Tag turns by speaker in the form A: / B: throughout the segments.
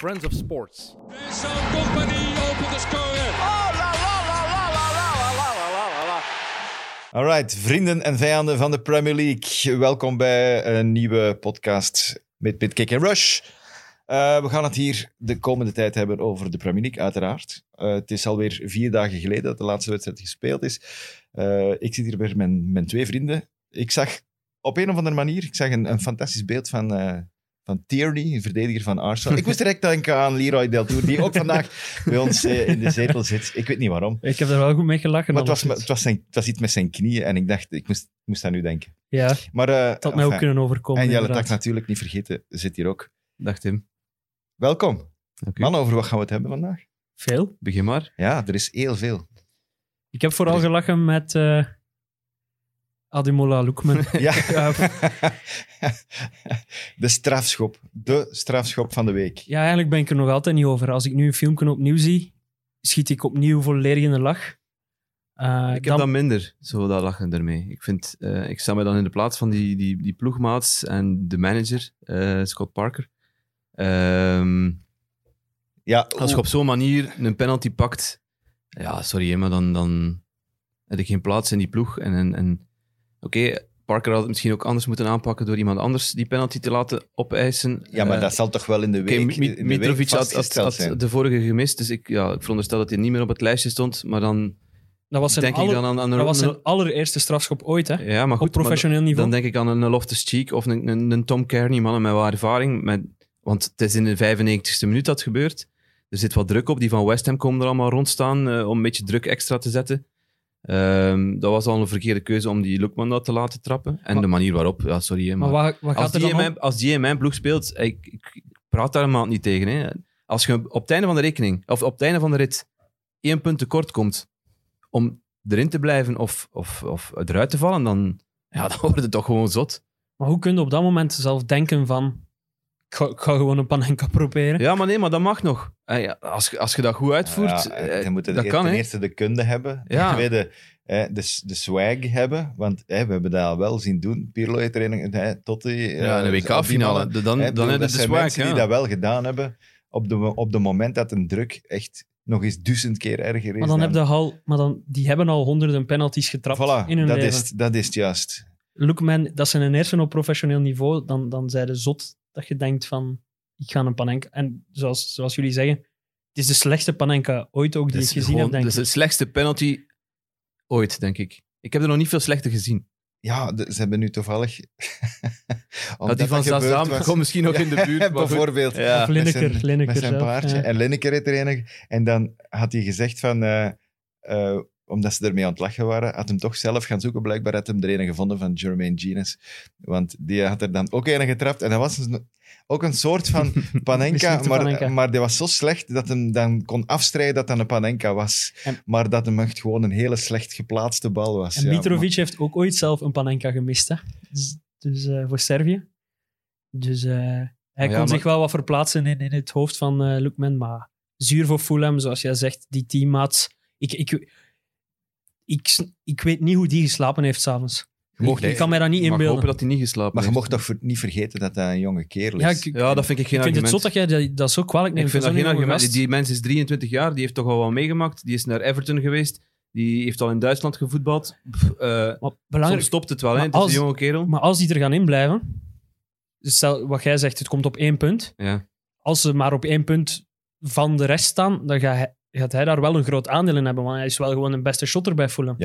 A: Friends of Sports.
B: Vincent Company opent de score.
C: Alright, vrienden en vijanden van de Premier League. Welkom bij een nieuwe podcast met Pitkick en Rush. Eh, we gaan het hier de komende tijd hebben over de Premier League, uiteraard. Eh, het is alweer vier dagen geleden dat de laatste wedstrijd gespeeld is. Eh, ik zit hier met mijn, mijn twee vrienden. Ik zag op een of andere manier ik zag een, een fantastisch beeld van, eh, van Tierney, een verdediger van Arsenal. Ik moest direct denken aan Leroy Deltour, die ook vandaag bij ons eh, in de zetel zit. Ik weet niet waarom.
D: Ik heb er wel goed mee gelachen.
C: Maar het was, me- het,
D: alleszins.
C: was zijn, het was iets met zijn knieën en ik dacht, ik moest, ik moest aan u denken.
D: Ja, het
C: Maar, eh,
D: had mij ook
C: enfin,
D: kunnen overkomen.
C: En Jelle Tak
D: inderdaad.
C: natuurlijk, niet vergeten, zit hier ook.
E: Dag Tim.
C: Welkom.
E: Dank u.
C: Man, over wat gaan we het hebben vandaag?
D: Veel.
E: Begin maar.
C: Ja, er is heel veel.
D: Ik heb vooral gelachen met eh Ademola Loekman.
C: Ja.
D: Ja,
C: de strafschop. De strafschop van de week.
D: ja, eigenlijk ben ik er nog altijd niet over. Als ik nu een filmpje opnieuw zie, schiet ik opnieuw volledig in de lach. Eh,
E: ik heb
D: dan-
E: dan minder, zo dat lachen ermee. Ik, vind, eh, ik sta me dan in de plaats van die, die, die ploegmaats en de manager, eh, Scott Parker. Ehm,
C: Ja,
E: als je op zo'n manier een penalty pakt, ja, sorry, hè, maar dan, dan heb ik geen plaats in die ploeg. En, en, en oké, Parker had het misschien ook anders moeten aanpakken door iemand anders die penalty te laten opeisen.
C: ja maar
E: Eh,
C: dat zal toch wel in de
E: Oké,
C: week,
E: Mi-
C: in de week
E: Mitrovic had, had-
C: vastgesteld
E: had
C: zijn.
E: de vorige gemist, dus ik, ja, ik veronderstel dat hij niet meer op het lijstje stond. Maar dan
D: dat was zijn,
E: denk
D: aller-
E: ik dan aan, aan een...
D: dat was zijn allereerste strafschop ooit, hè?
E: ja, maar
D: op
E: goed, maar
D: professioneel niveau.
E: dan denk ik aan een Loftus-Cheek of een, een, een Tom Kearney, mannen met wat ervaring. Met, want het is in de 95ste minuut dat gebeurt. Er zit wat druk op, die van West Ham komen er allemaal rondstaan eh, om een beetje druk extra te zetten. Ehm, dat was al een verkeerde keuze om die Lukman dat te laten trappen. En
D: Maar-
E: de manier waarop, ja, sorry. hè,
D: maar
E: maar-
D: wat, wat
E: als,
D: gaat
E: die
D: er dan
E: in
D: om?
E: mijn, als die in mijn ploeg speelt, ik, ik, ik praat daar helemaal niet tegen. Hè. Als je op het einde van de rekening, of op het einde van de rit, één punt tekort komt om erin te blijven of, of, of eruit te vallen, dan, ja, dan wordt het toch gewoon zot.
D: Maar hoe kun je op dat moment zelf denken van... Ik ga, ik ga gewoon een panenka proberen.
E: Ja, maar nee, maar dat mag nog. Eh, ja, Als, je- als je dat goed uitvoert,
C: Ja,
E: eh,
C: dan moeten
E: dat
C: de,
E: kan,
C: e- ten
E: hè.
C: eerste de kunde hebben,
E: Ja.
C: ten tweede eh, de, s- de swag hebben, want eh, we hebben dat al wel zien doen. Pirlo heeft er een, eh, tot die...
E: ja, in de WK-finale, dan, dan, dan heb je
C: dat
E: de
C: zijn
E: swag,
C: mensen
E: ja.
C: die dat wel gedaan hebben op de, op de moment dat een druk echt nog eens duizend keer erger is.
D: Maar dan heb je al... Maar dan, die hebben al honderden penalties getrapt
C: Voilà,
D: in hun
C: dat
D: leven.
C: is, het- dat is het juist.
D: Lookman, dat zijn een hersenen op professioneel niveau, dan, dan zijn ze zot dat je denkt van, ik ga een panenka... En zoals, zoals jullie zeggen, het is de slechtste panenka ooit ook die
E: Dat is
D: ik gezien
E: gewoon-
D: heb, denk
E: dat is de
D: ik.
E: slechtste penalty ooit, denk ik. Ik heb er nog niet veel slechter gezien.
C: Ja, de- ze hebben nu toevallig...
E: Dat
C: Omdat
E: die van
C: gebeurd
E: Zazam
C: was-
E: komt misschien ook in de buurt. Maar goed.
C: bijvoorbeeld.
E: Ja.
D: Of Lineker,
C: Met zijn,
D: Lineker
C: met zijn
D: zelf,
C: paardje.
D: ja.
C: En Lineker reed er enig. En dan had hij gezegd van... eh, eh, omdat ze ermee aan het lachen waren, had hem toch zelf gaan zoeken. Blijkbaar had hem er een gevonden van Jermaine Genius. Want die had er dan ook een getrapt. En dat was een- ook een soort van panenka.
D: Mislukte
C: maar,
D: panenka.
C: maar die was zo slecht dat hem dan kon afstrijden dat dat een panenka was.
D: En-
C: maar dat hem echt gewoon een hele slecht geplaatste bal was.
D: En
C: ja.
D: Mitrovic heeft ook ooit zelf een panenka gemist, hè. Dus, dus, eh, voor Servië. Dus eh, hij
E: ja,
D: kon
E: maar-
D: zich wel wat verplaatsen in, in het hoofd van eh Lookman, maar zuur voor Fulham, zoals jij zegt, die teammaats. Ik, ik, ik, s- ik weet niet hoe die geslapen heeft s'avonds.
C: mocht
D: Ik kan mij dat niet
E: Ik mag
D: inbeelden.
E: hopen dat hij niet geslapen
C: Maar je
E: heeft.
C: mocht toch voor- niet vergeten dat dat een jonge kerel is.
D: Ja, ik,
E: Ja, dat vind ik geen
D: Ik vind het
E: argument.
D: zot dat jij dat, dat zo kwalijk neemt.
E: ik vind
D: voor
E: dat geen
D: zo'n jonge
E: argument. Die,
D: gast.
E: die mens is 23 jaar, die heeft toch al wat meegemaakt. Die is naar Everton geweest, die heeft al in Duitsland gevoetbald. Pff, eh,
D: Maar
E: soms
D: belangrijk,
E: stopt het wel, hè.
D: Maar
E: Het is een
D: als-
E: jonge kerel.
D: maar als die er gaan inblijven, dus stel wat jij zegt, het komt op één punt.
E: Ja.
D: Als ze maar op één punt van de rest staan, dan gaat hij, gaat hij daar wel een groot aandeel in hebben, want hij is wel gewoon een beste shotter bij Fulham.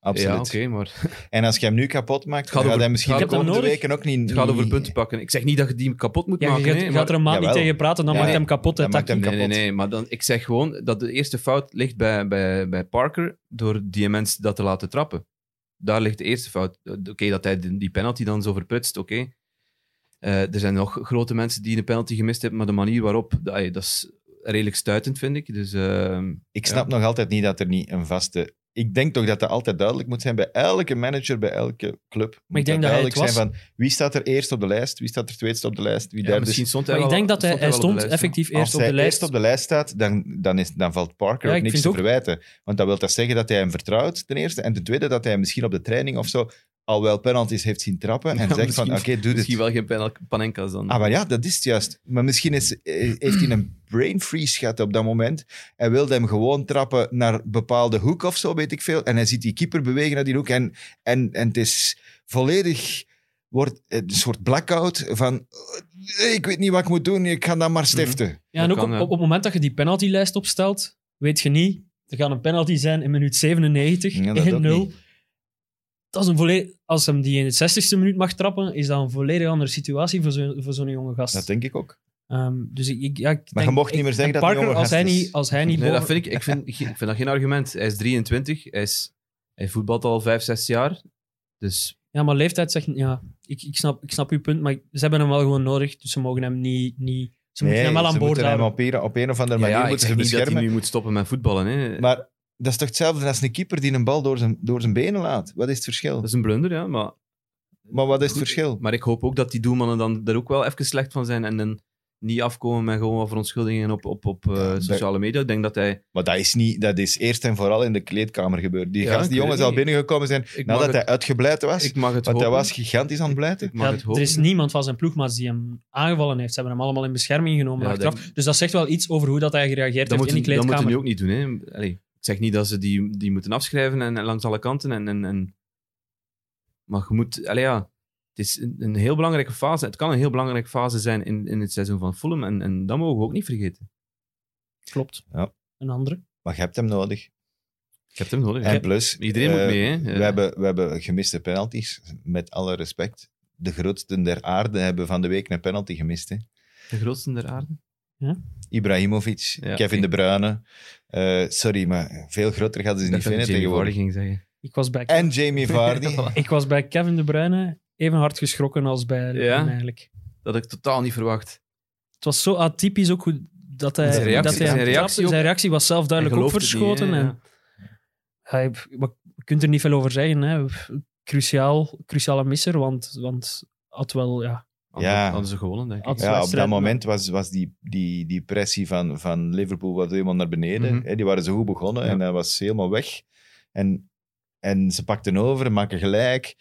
C: Absoluut.
E: Ja, oké, maar
C: En als je hem nu kapot maakt,
E: Het gaat
C: dan gaat
E: over-
C: hij misschien
E: het
C: de
E: gaat over
C: komende
D: nodig.
C: weken ook niet...
E: het gaat over
C: niet-
E: punten pakken. Ik zeg niet dat je die kapot moet
D: Ja,
E: maken.
D: je gaat,
E: hè,
D: je
E: maar-
D: gaat er een maand niet
C: Jawel.
D: tegen praten, dan
C: Ja,
D: maakt
C: nee.
D: hem kapot. hè,
C: Dat maakt
D: Taki.
C: hem
E: Nee,
C: kapot.
E: nee, nee, maar dan, ik zeg gewoon dat de eerste fout ligt bij, bij, bij Parker door die mens dat te laten trappen. Daar ligt de eerste fout. Eh, Oké, dat hij die die penalty dan zo verprutst, oké. Eh, er zijn nog grote mensen die een penalty gemist hebben, maar de manier waarop, dat, ay, dat is redelijk stuitend, vind ik. Dus, ehm,
C: Ik snap nog altijd niet dat er niet een vaste... Ik denk toch dat dat altijd duidelijk moet zijn bij elke manager, bij elke club. Maar
D: denk dat hij het
C: duidelijk zijn van wie staat er eerst op de lijst, wie staat er tweede op de lijst, wie
E: ja,
C: derde.
E: misschien
C: Dus
E: stond hij
D: Maar ik
E: wel-
D: denk dat hij, hij
E: wel op
D: stond
E: de lijst,
D: effectief
C: als
D: eerst op
C: hij
D: de lijst.
C: eerst op de lijst staat, dan, dan, is, dan valt Parker
D: Ja,
C: ook
D: ik
C: niks
D: vind
C: te
D: ook-
C: verwijten. Want dat wil dat zeggen dat hij hem vertrouwt, ten eerste. En ten tweede dat hij hem misschien op de training of zo al wel penalties heeft zien trappen en
E: Ja,
C: zegt van, oké,
E: misschien-
C: doe dit.
E: Misschien wel geen penal- Panenka's dan.
C: Ah, maar ja, dat is het juist. Maar misschien is, eh, heeft hij een brain freeze gehad op dat moment en wilde hem gewoon trappen naar bepaalde hoek of zo, weet ik veel. En hij ziet die keeper bewegen naar die hoek en, en, en het is volledig wordt eh, een soort blackout van eh, ik weet niet wat ik moet doen, ik ga dan maar stiften.
D: Ja, en
E: Dat
D: ook
E: kan,
D: op,
E: ja.
D: op het moment dat je die penaltylijst opstelt, weet je niet, er gaat een penalty zijn in minuut 97,
C: Ja, dat ook
D: 1-0. Dat is een volledig, als hem die in de 60ste minuut mag trappen, is dat een volledig andere situatie voor zo'n voor zo'n jonge gast.
C: Dat denk ik ook.
D: Ehm, dus ik, ik- ja, ik
C: Maar je
D: denk-
C: mocht niet
D: ik-
C: meer zeggen
D: en
C: dat het een
D: Parker,
C: jonge
D: als hij
C: gast is.
D: niet, als hij niet
E: Nee, dat
D: boven-
E: vind ik, ik, vind, ik vind dat geen argument. Hij is 23, hij, is, hij voetbalt al 5, 6 jaar. Dus
D: Ja, maar leeftijd zegt... Ja, ik, ik, snap, ik snap uw punt, maar ze hebben hem wel gewoon nodig, dus ze mogen hem niet... niet ze moeten
C: Nee,
D: hem wel aan
C: ze
D: boord
C: moeten hem
D: houden.
C: op een, op een of andere
E: ja,
C: manier
E: ja, ik
C: moeten
E: zeg
C: ze
E: niet dat
C: beschermen.
E: hij nu moet stoppen met voetballen. Hè.
C: Maar dat is toch hetzelfde als een keeper die een bal door zijn, door zijn benen laat. Wat is het verschil?
E: dat is een blunder, ja. Maar,
C: Maar wat is het
E: Goed,
C: verschil?
E: maar ik hoop ook dat die doelmannen dan daar ook wel even slecht van zijn en dan niet afkomen met gewoon wat verontschuldigingen op, op, op eh,
C: dat-
E: sociale media. Ik denk dat hij...
C: Maar dat is, niet, dat is eerst en vooral in de kleedkamer gebeurd. Die,
E: Ja,
C: gast,
E: ik
C: die
E: weet
C: jongens
E: het
C: al
E: niet.
C: binnengekomen zijn
E: Ik mag
C: nadat hij
E: het,
C: uitgebleid was.
E: ik mag het
C: want hij
E: hopen.
C: was gigantisch aan het blijten.
E: Ik mag
D: Ja,
E: het
D: er
E: hopen.
D: is niemand van zijn ploegmaats die hem aangevallen heeft. Ze hebben hem allemaal in bescherming genomen
E: Ja,
D: achteraf.
E: dat-
D: Dus dat zegt wel iets over hoe dat hij gereageerd
E: Dat
D: heeft in die
E: moeten, dat moeten
D: kleedkamer.
E: nu ook niet doen. Hè. Allee, ik zeg niet dat ze die, die moeten afschrijven en, en langs alle kanten. En, en, en... Maar je moet... Allee, ja, het is een, een heel belangrijke fase. Het kan een heel belangrijke fase zijn in, in het seizoen van Fulham. En, en dat mogen we ook niet vergeten.
D: Klopt.
C: Ja.
D: Een andere.
C: Maar je hebt hem nodig.
E: Ik heb het hem nodig.
C: En plus,
E: Iedereen
C: eh,
E: moet mee. Hè.
C: we, hebben, we hebben gemiste penalties, met alle respect. De grootsten der aarde hebben van de week een penalty gemist. Hè.
E: De grootste der aarde.
C: Ibrahimovic,
E: Ja,
C: Kevin
E: oké.
C: De Bruyne. Eh, sorry, maar veel groter gaat ze
E: Ik
C: niet
E: dacht dat
C: vinden
E: Jamie Vardy
C: tegenwoordig.
E: ging zeggen.
D: Ik was bij,
C: En Jamie Vardy.
D: ik was bij Kevin De Bruyne even hard geschrokken als bij Lukman
E: Ja?
D: eigenlijk.
E: Dat had ik totaal niet verwacht.
D: Het was zo atypisch ook hoe dat hij...
E: Zijn reactie-
D: dat hij
E: zijn
D: hem
E: reactie
D: trapte.
E: ook-
D: zijn reactie was zelf duidelijk
E: Hij
D: ook
E: gelooft het niet,
D: verschoten.
E: hè,
D: en
E: ja.
D: hij, wat- je kunt er niet veel over zeggen. Hè. Cruciaal, cruciale misser, want, want had wel... Ja,
E: Anders-
C: Ja.
E: Anders ze gewonnen, denk ik.
D: Anders-
C: Ja, op dat
D: wedstrijd, maar-
C: moment was, was die, die, die pressie van, van Liverpool was helemaal naar beneden.
E: Mhm.
C: Hè, die waren zo goed begonnen
E: Ja.
C: en dat was helemaal weg. En, en ze pakten over, maken gelijk,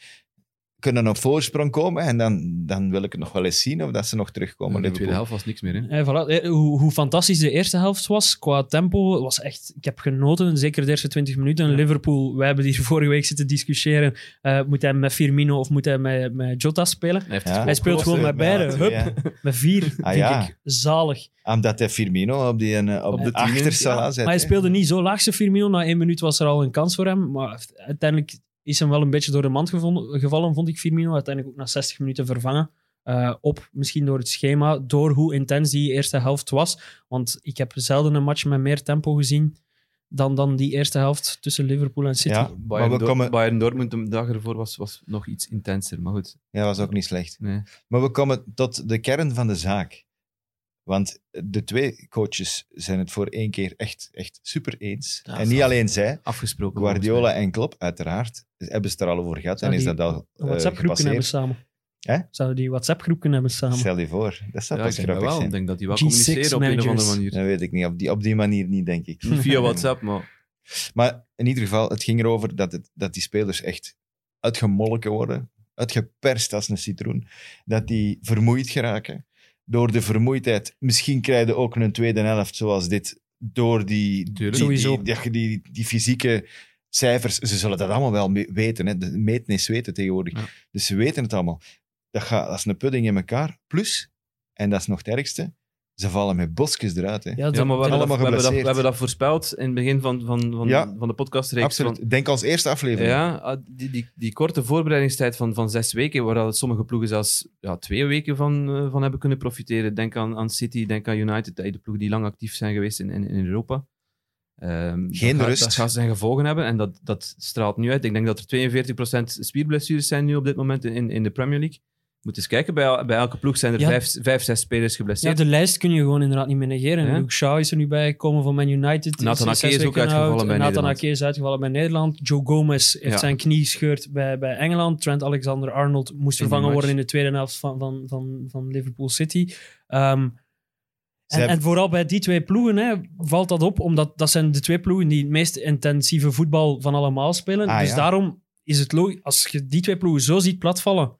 C: kunnen op voorsprong komen. En dan, dan wil ik het nog wel eens zien of dat ze nog terugkomen.
E: Maar de tweede
C: Liverpool.
E: helft was niks meer. Hè.
D: Eh, voilà. Eh, hoe, hoe fantastisch de eerste helft was qua tempo, was echt, ik heb genoten, zeker de eerste 20 minuten. Liverpool, wij hebben hier vorige week zitten discussiëren, eh, moet hij met Firmino of moet hij met, met Jota spelen?
E: Hij, heeft
C: Ja.
E: het
D: Hij speelt gewoon met beide.
C: Ja,
D: Hup.
C: ja.
D: Met vier, vind
C: ja.
D: ik zalig.
C: Omdat hij Firmino op, die, eh, op,
E: Op
C: de
E: de tien,
C: achter
E: ja.
C: Salah zet.
D: Maar hij
C: hè.
D: speelde niet zo laag, zijn Firmino. Na één minuut was er al een kans voor hem, maar uiteindelijk is hem wel een beetje door de mand gevonden, gevallen, vond ik Firmino. Uiteindelijk ook na 60 minuten vervangen. eh, op misschien door het schema, door hoe intens die eerste helft was. Want ik heb zelden een match met meer tempo gezien dan, dan die eerste helft tussen Liverpool en City.
C: Ja, maar
E: Bayern,
C: we
E: Dor-
C: komen...
E: Bayern Dortmund de dag ervoor was, was nog iets intenser. Maar goed,
C: Ja, was ook niet slecht.
E: nee.
C: Maar we komen tot de kern van de zaak. Want de twee coaches zijn het voor één keer echt, echt super eens.
E: Ja,
C: en
E: zo.
C: niet alleen zij.
E: afgesproken.
C: Guardiola en Klopp, uiteraard, hebben ze het er al over gehad
D: Zou
C: en is
D: die
C: dat al
D: Een
C: eh,
D: WhatsApp-groep kunnen
C: gepasseerd.
D: hebben samen.
C: Hè?
D: Zouden die WhatsApp-groep kunnen hebben samen?
C: Stel je voor, dat zou
E: Ja, ik denk dat
C: pas grappig
E: wel. Ik
C: zijn.
E: denk dat die wel
D: G6
E: communiceren op een of andere
D: managers.
E: manier.
C: Dat weet ik niet, op die, op die manier niet, denk ik.
E: Niet via WhatsApp, maar
C: Maar in ieder geval, het ging erover dat, het, dat die spelers echt uitgemolken worden, uitgeperst als een citroen, dat die vermoeid geraken. Door de vermoeidheid, misschien krijgen we ook een tweede helft zoals dit, door die, die,
E: Tuurlijk.
C: die,
D: Sowieso.
C: die, die- die fysieke cijfers. Ze zullen dat allemaal wel me- weten. Hè. De meten is weten tegenwoordig.
E: Ja.
C: Dus ze weten het allemaal. Dat, gaat, dat is een pudding in elkaar. Plus, en dat is nog het ergste, ze vallen met bosjes eruit. Hè.
D: Ja,
E: ja,
D: dat-
E: maar we, hebben
D: dat-
E: dat,
C: allemaal
E: we, hebben dat, we
C: geblesseerd.
E: hebben dat voorspeld in het begin van, van, van,
C: Ja.
E: van de podcastreeks.
C: Absoluut.
E: van-
C: Denk als eerste aflevering.
E: ja, ah, die, die, die korte voorbereidingstijd van, van zes weken, waar al sommige ploegen zelfs ja, twee weken van, eh, van hebben kunnen profiteren. Denk aan, aan City, denk aan United, eh, de ploegen die lang actief zijn geweest in, in, in Europa. Ehm, dat
C: Geen
E: gaat-
C: rust.
E: Dat gaat zijn gevolgen hebben en dat, dat straalt nu uit. Ik denk dat er 42% spierblessures zijn nu op dit moment in- in, in de Premier League. Moet eens kijken, bij, el- bij elke ploeg zijn er
D: Ja.
E: vijf, vijf, zes spelers
D: Ja,
E: geblesseerd.
D: de lijst kun je gewoon inderdaad niet meer negeren.
E: Ja.
D: Luke Shaw is er nu bij gekomen van Man United.
E: Nathan
D: zes
E: Ake is ook
D: weken
E: uitgevallen
D: oud.
E: bij
D: Nathan
E: Nederland.
D: Ake is uitgevallen bij Nederland. Joe Gomez heeft
E: Ja.
D: zijn knie gescheurd bij, bij Engeland. Trent Alexander-Arnold moest
E: die
D: vervangen
E: match.
D: worden in de tweede helft van, van, van, van Liverpool City. Ehm,
C: Ze
D: en,
C: hebben-
D: en vooral bij die twee ploegen hè, valt dat op, omdat dat zijn de twee ploegen die het meest intensieve voetbal van allemaal spelen.
C: Ah,
D: dus
C: ja.
D: daarom is het logisch. Als je die twee ploegen zo ziet platvallen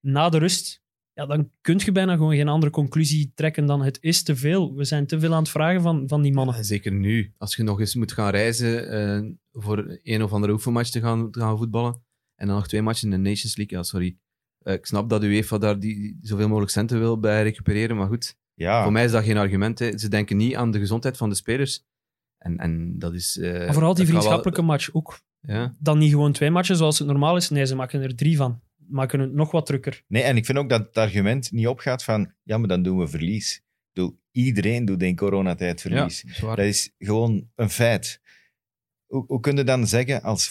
D: na de rust, ja, dan kun je bijna gewoon geen andere conclusie trekken dan het is te veel. We zijn te veel aan het vragen van, van die mannen.
E: En zeker nu, als je nog eens moet gaan reizen eh, voor een of andere oefenmatch te gaan, te gaan voetballen. En dan nog twee matchen in de Nations League. Ja, sorry. Eh, ik snap dat UEFA daar die, zoveel mogelijk centen wil bij recupereren. Maar goed,
C: Ja,
E: voor mij is dat geen argument. Hè. Ze denken niet aan de gezondheid van de spelers. En, en dat is... eh,
D: Maar vooral die
E: dat gaat wel-
D: vriendschappelijke match ook.
E: ja.
D: Dan niet gewoon twee matchen zoals het normaal is. Nee, ze maken er drie van. Maken het nog wat drukker.
C: nee, en ik vind ook dat het argument niet opgaat van, ja, maar dan doen we verlies. Ik bedoel, iedereen doet in coronatijd verlies.
E: Ja, zwaar.
C: Dat is gewoon een feit. Hoe, hoe kun je dan zeggen als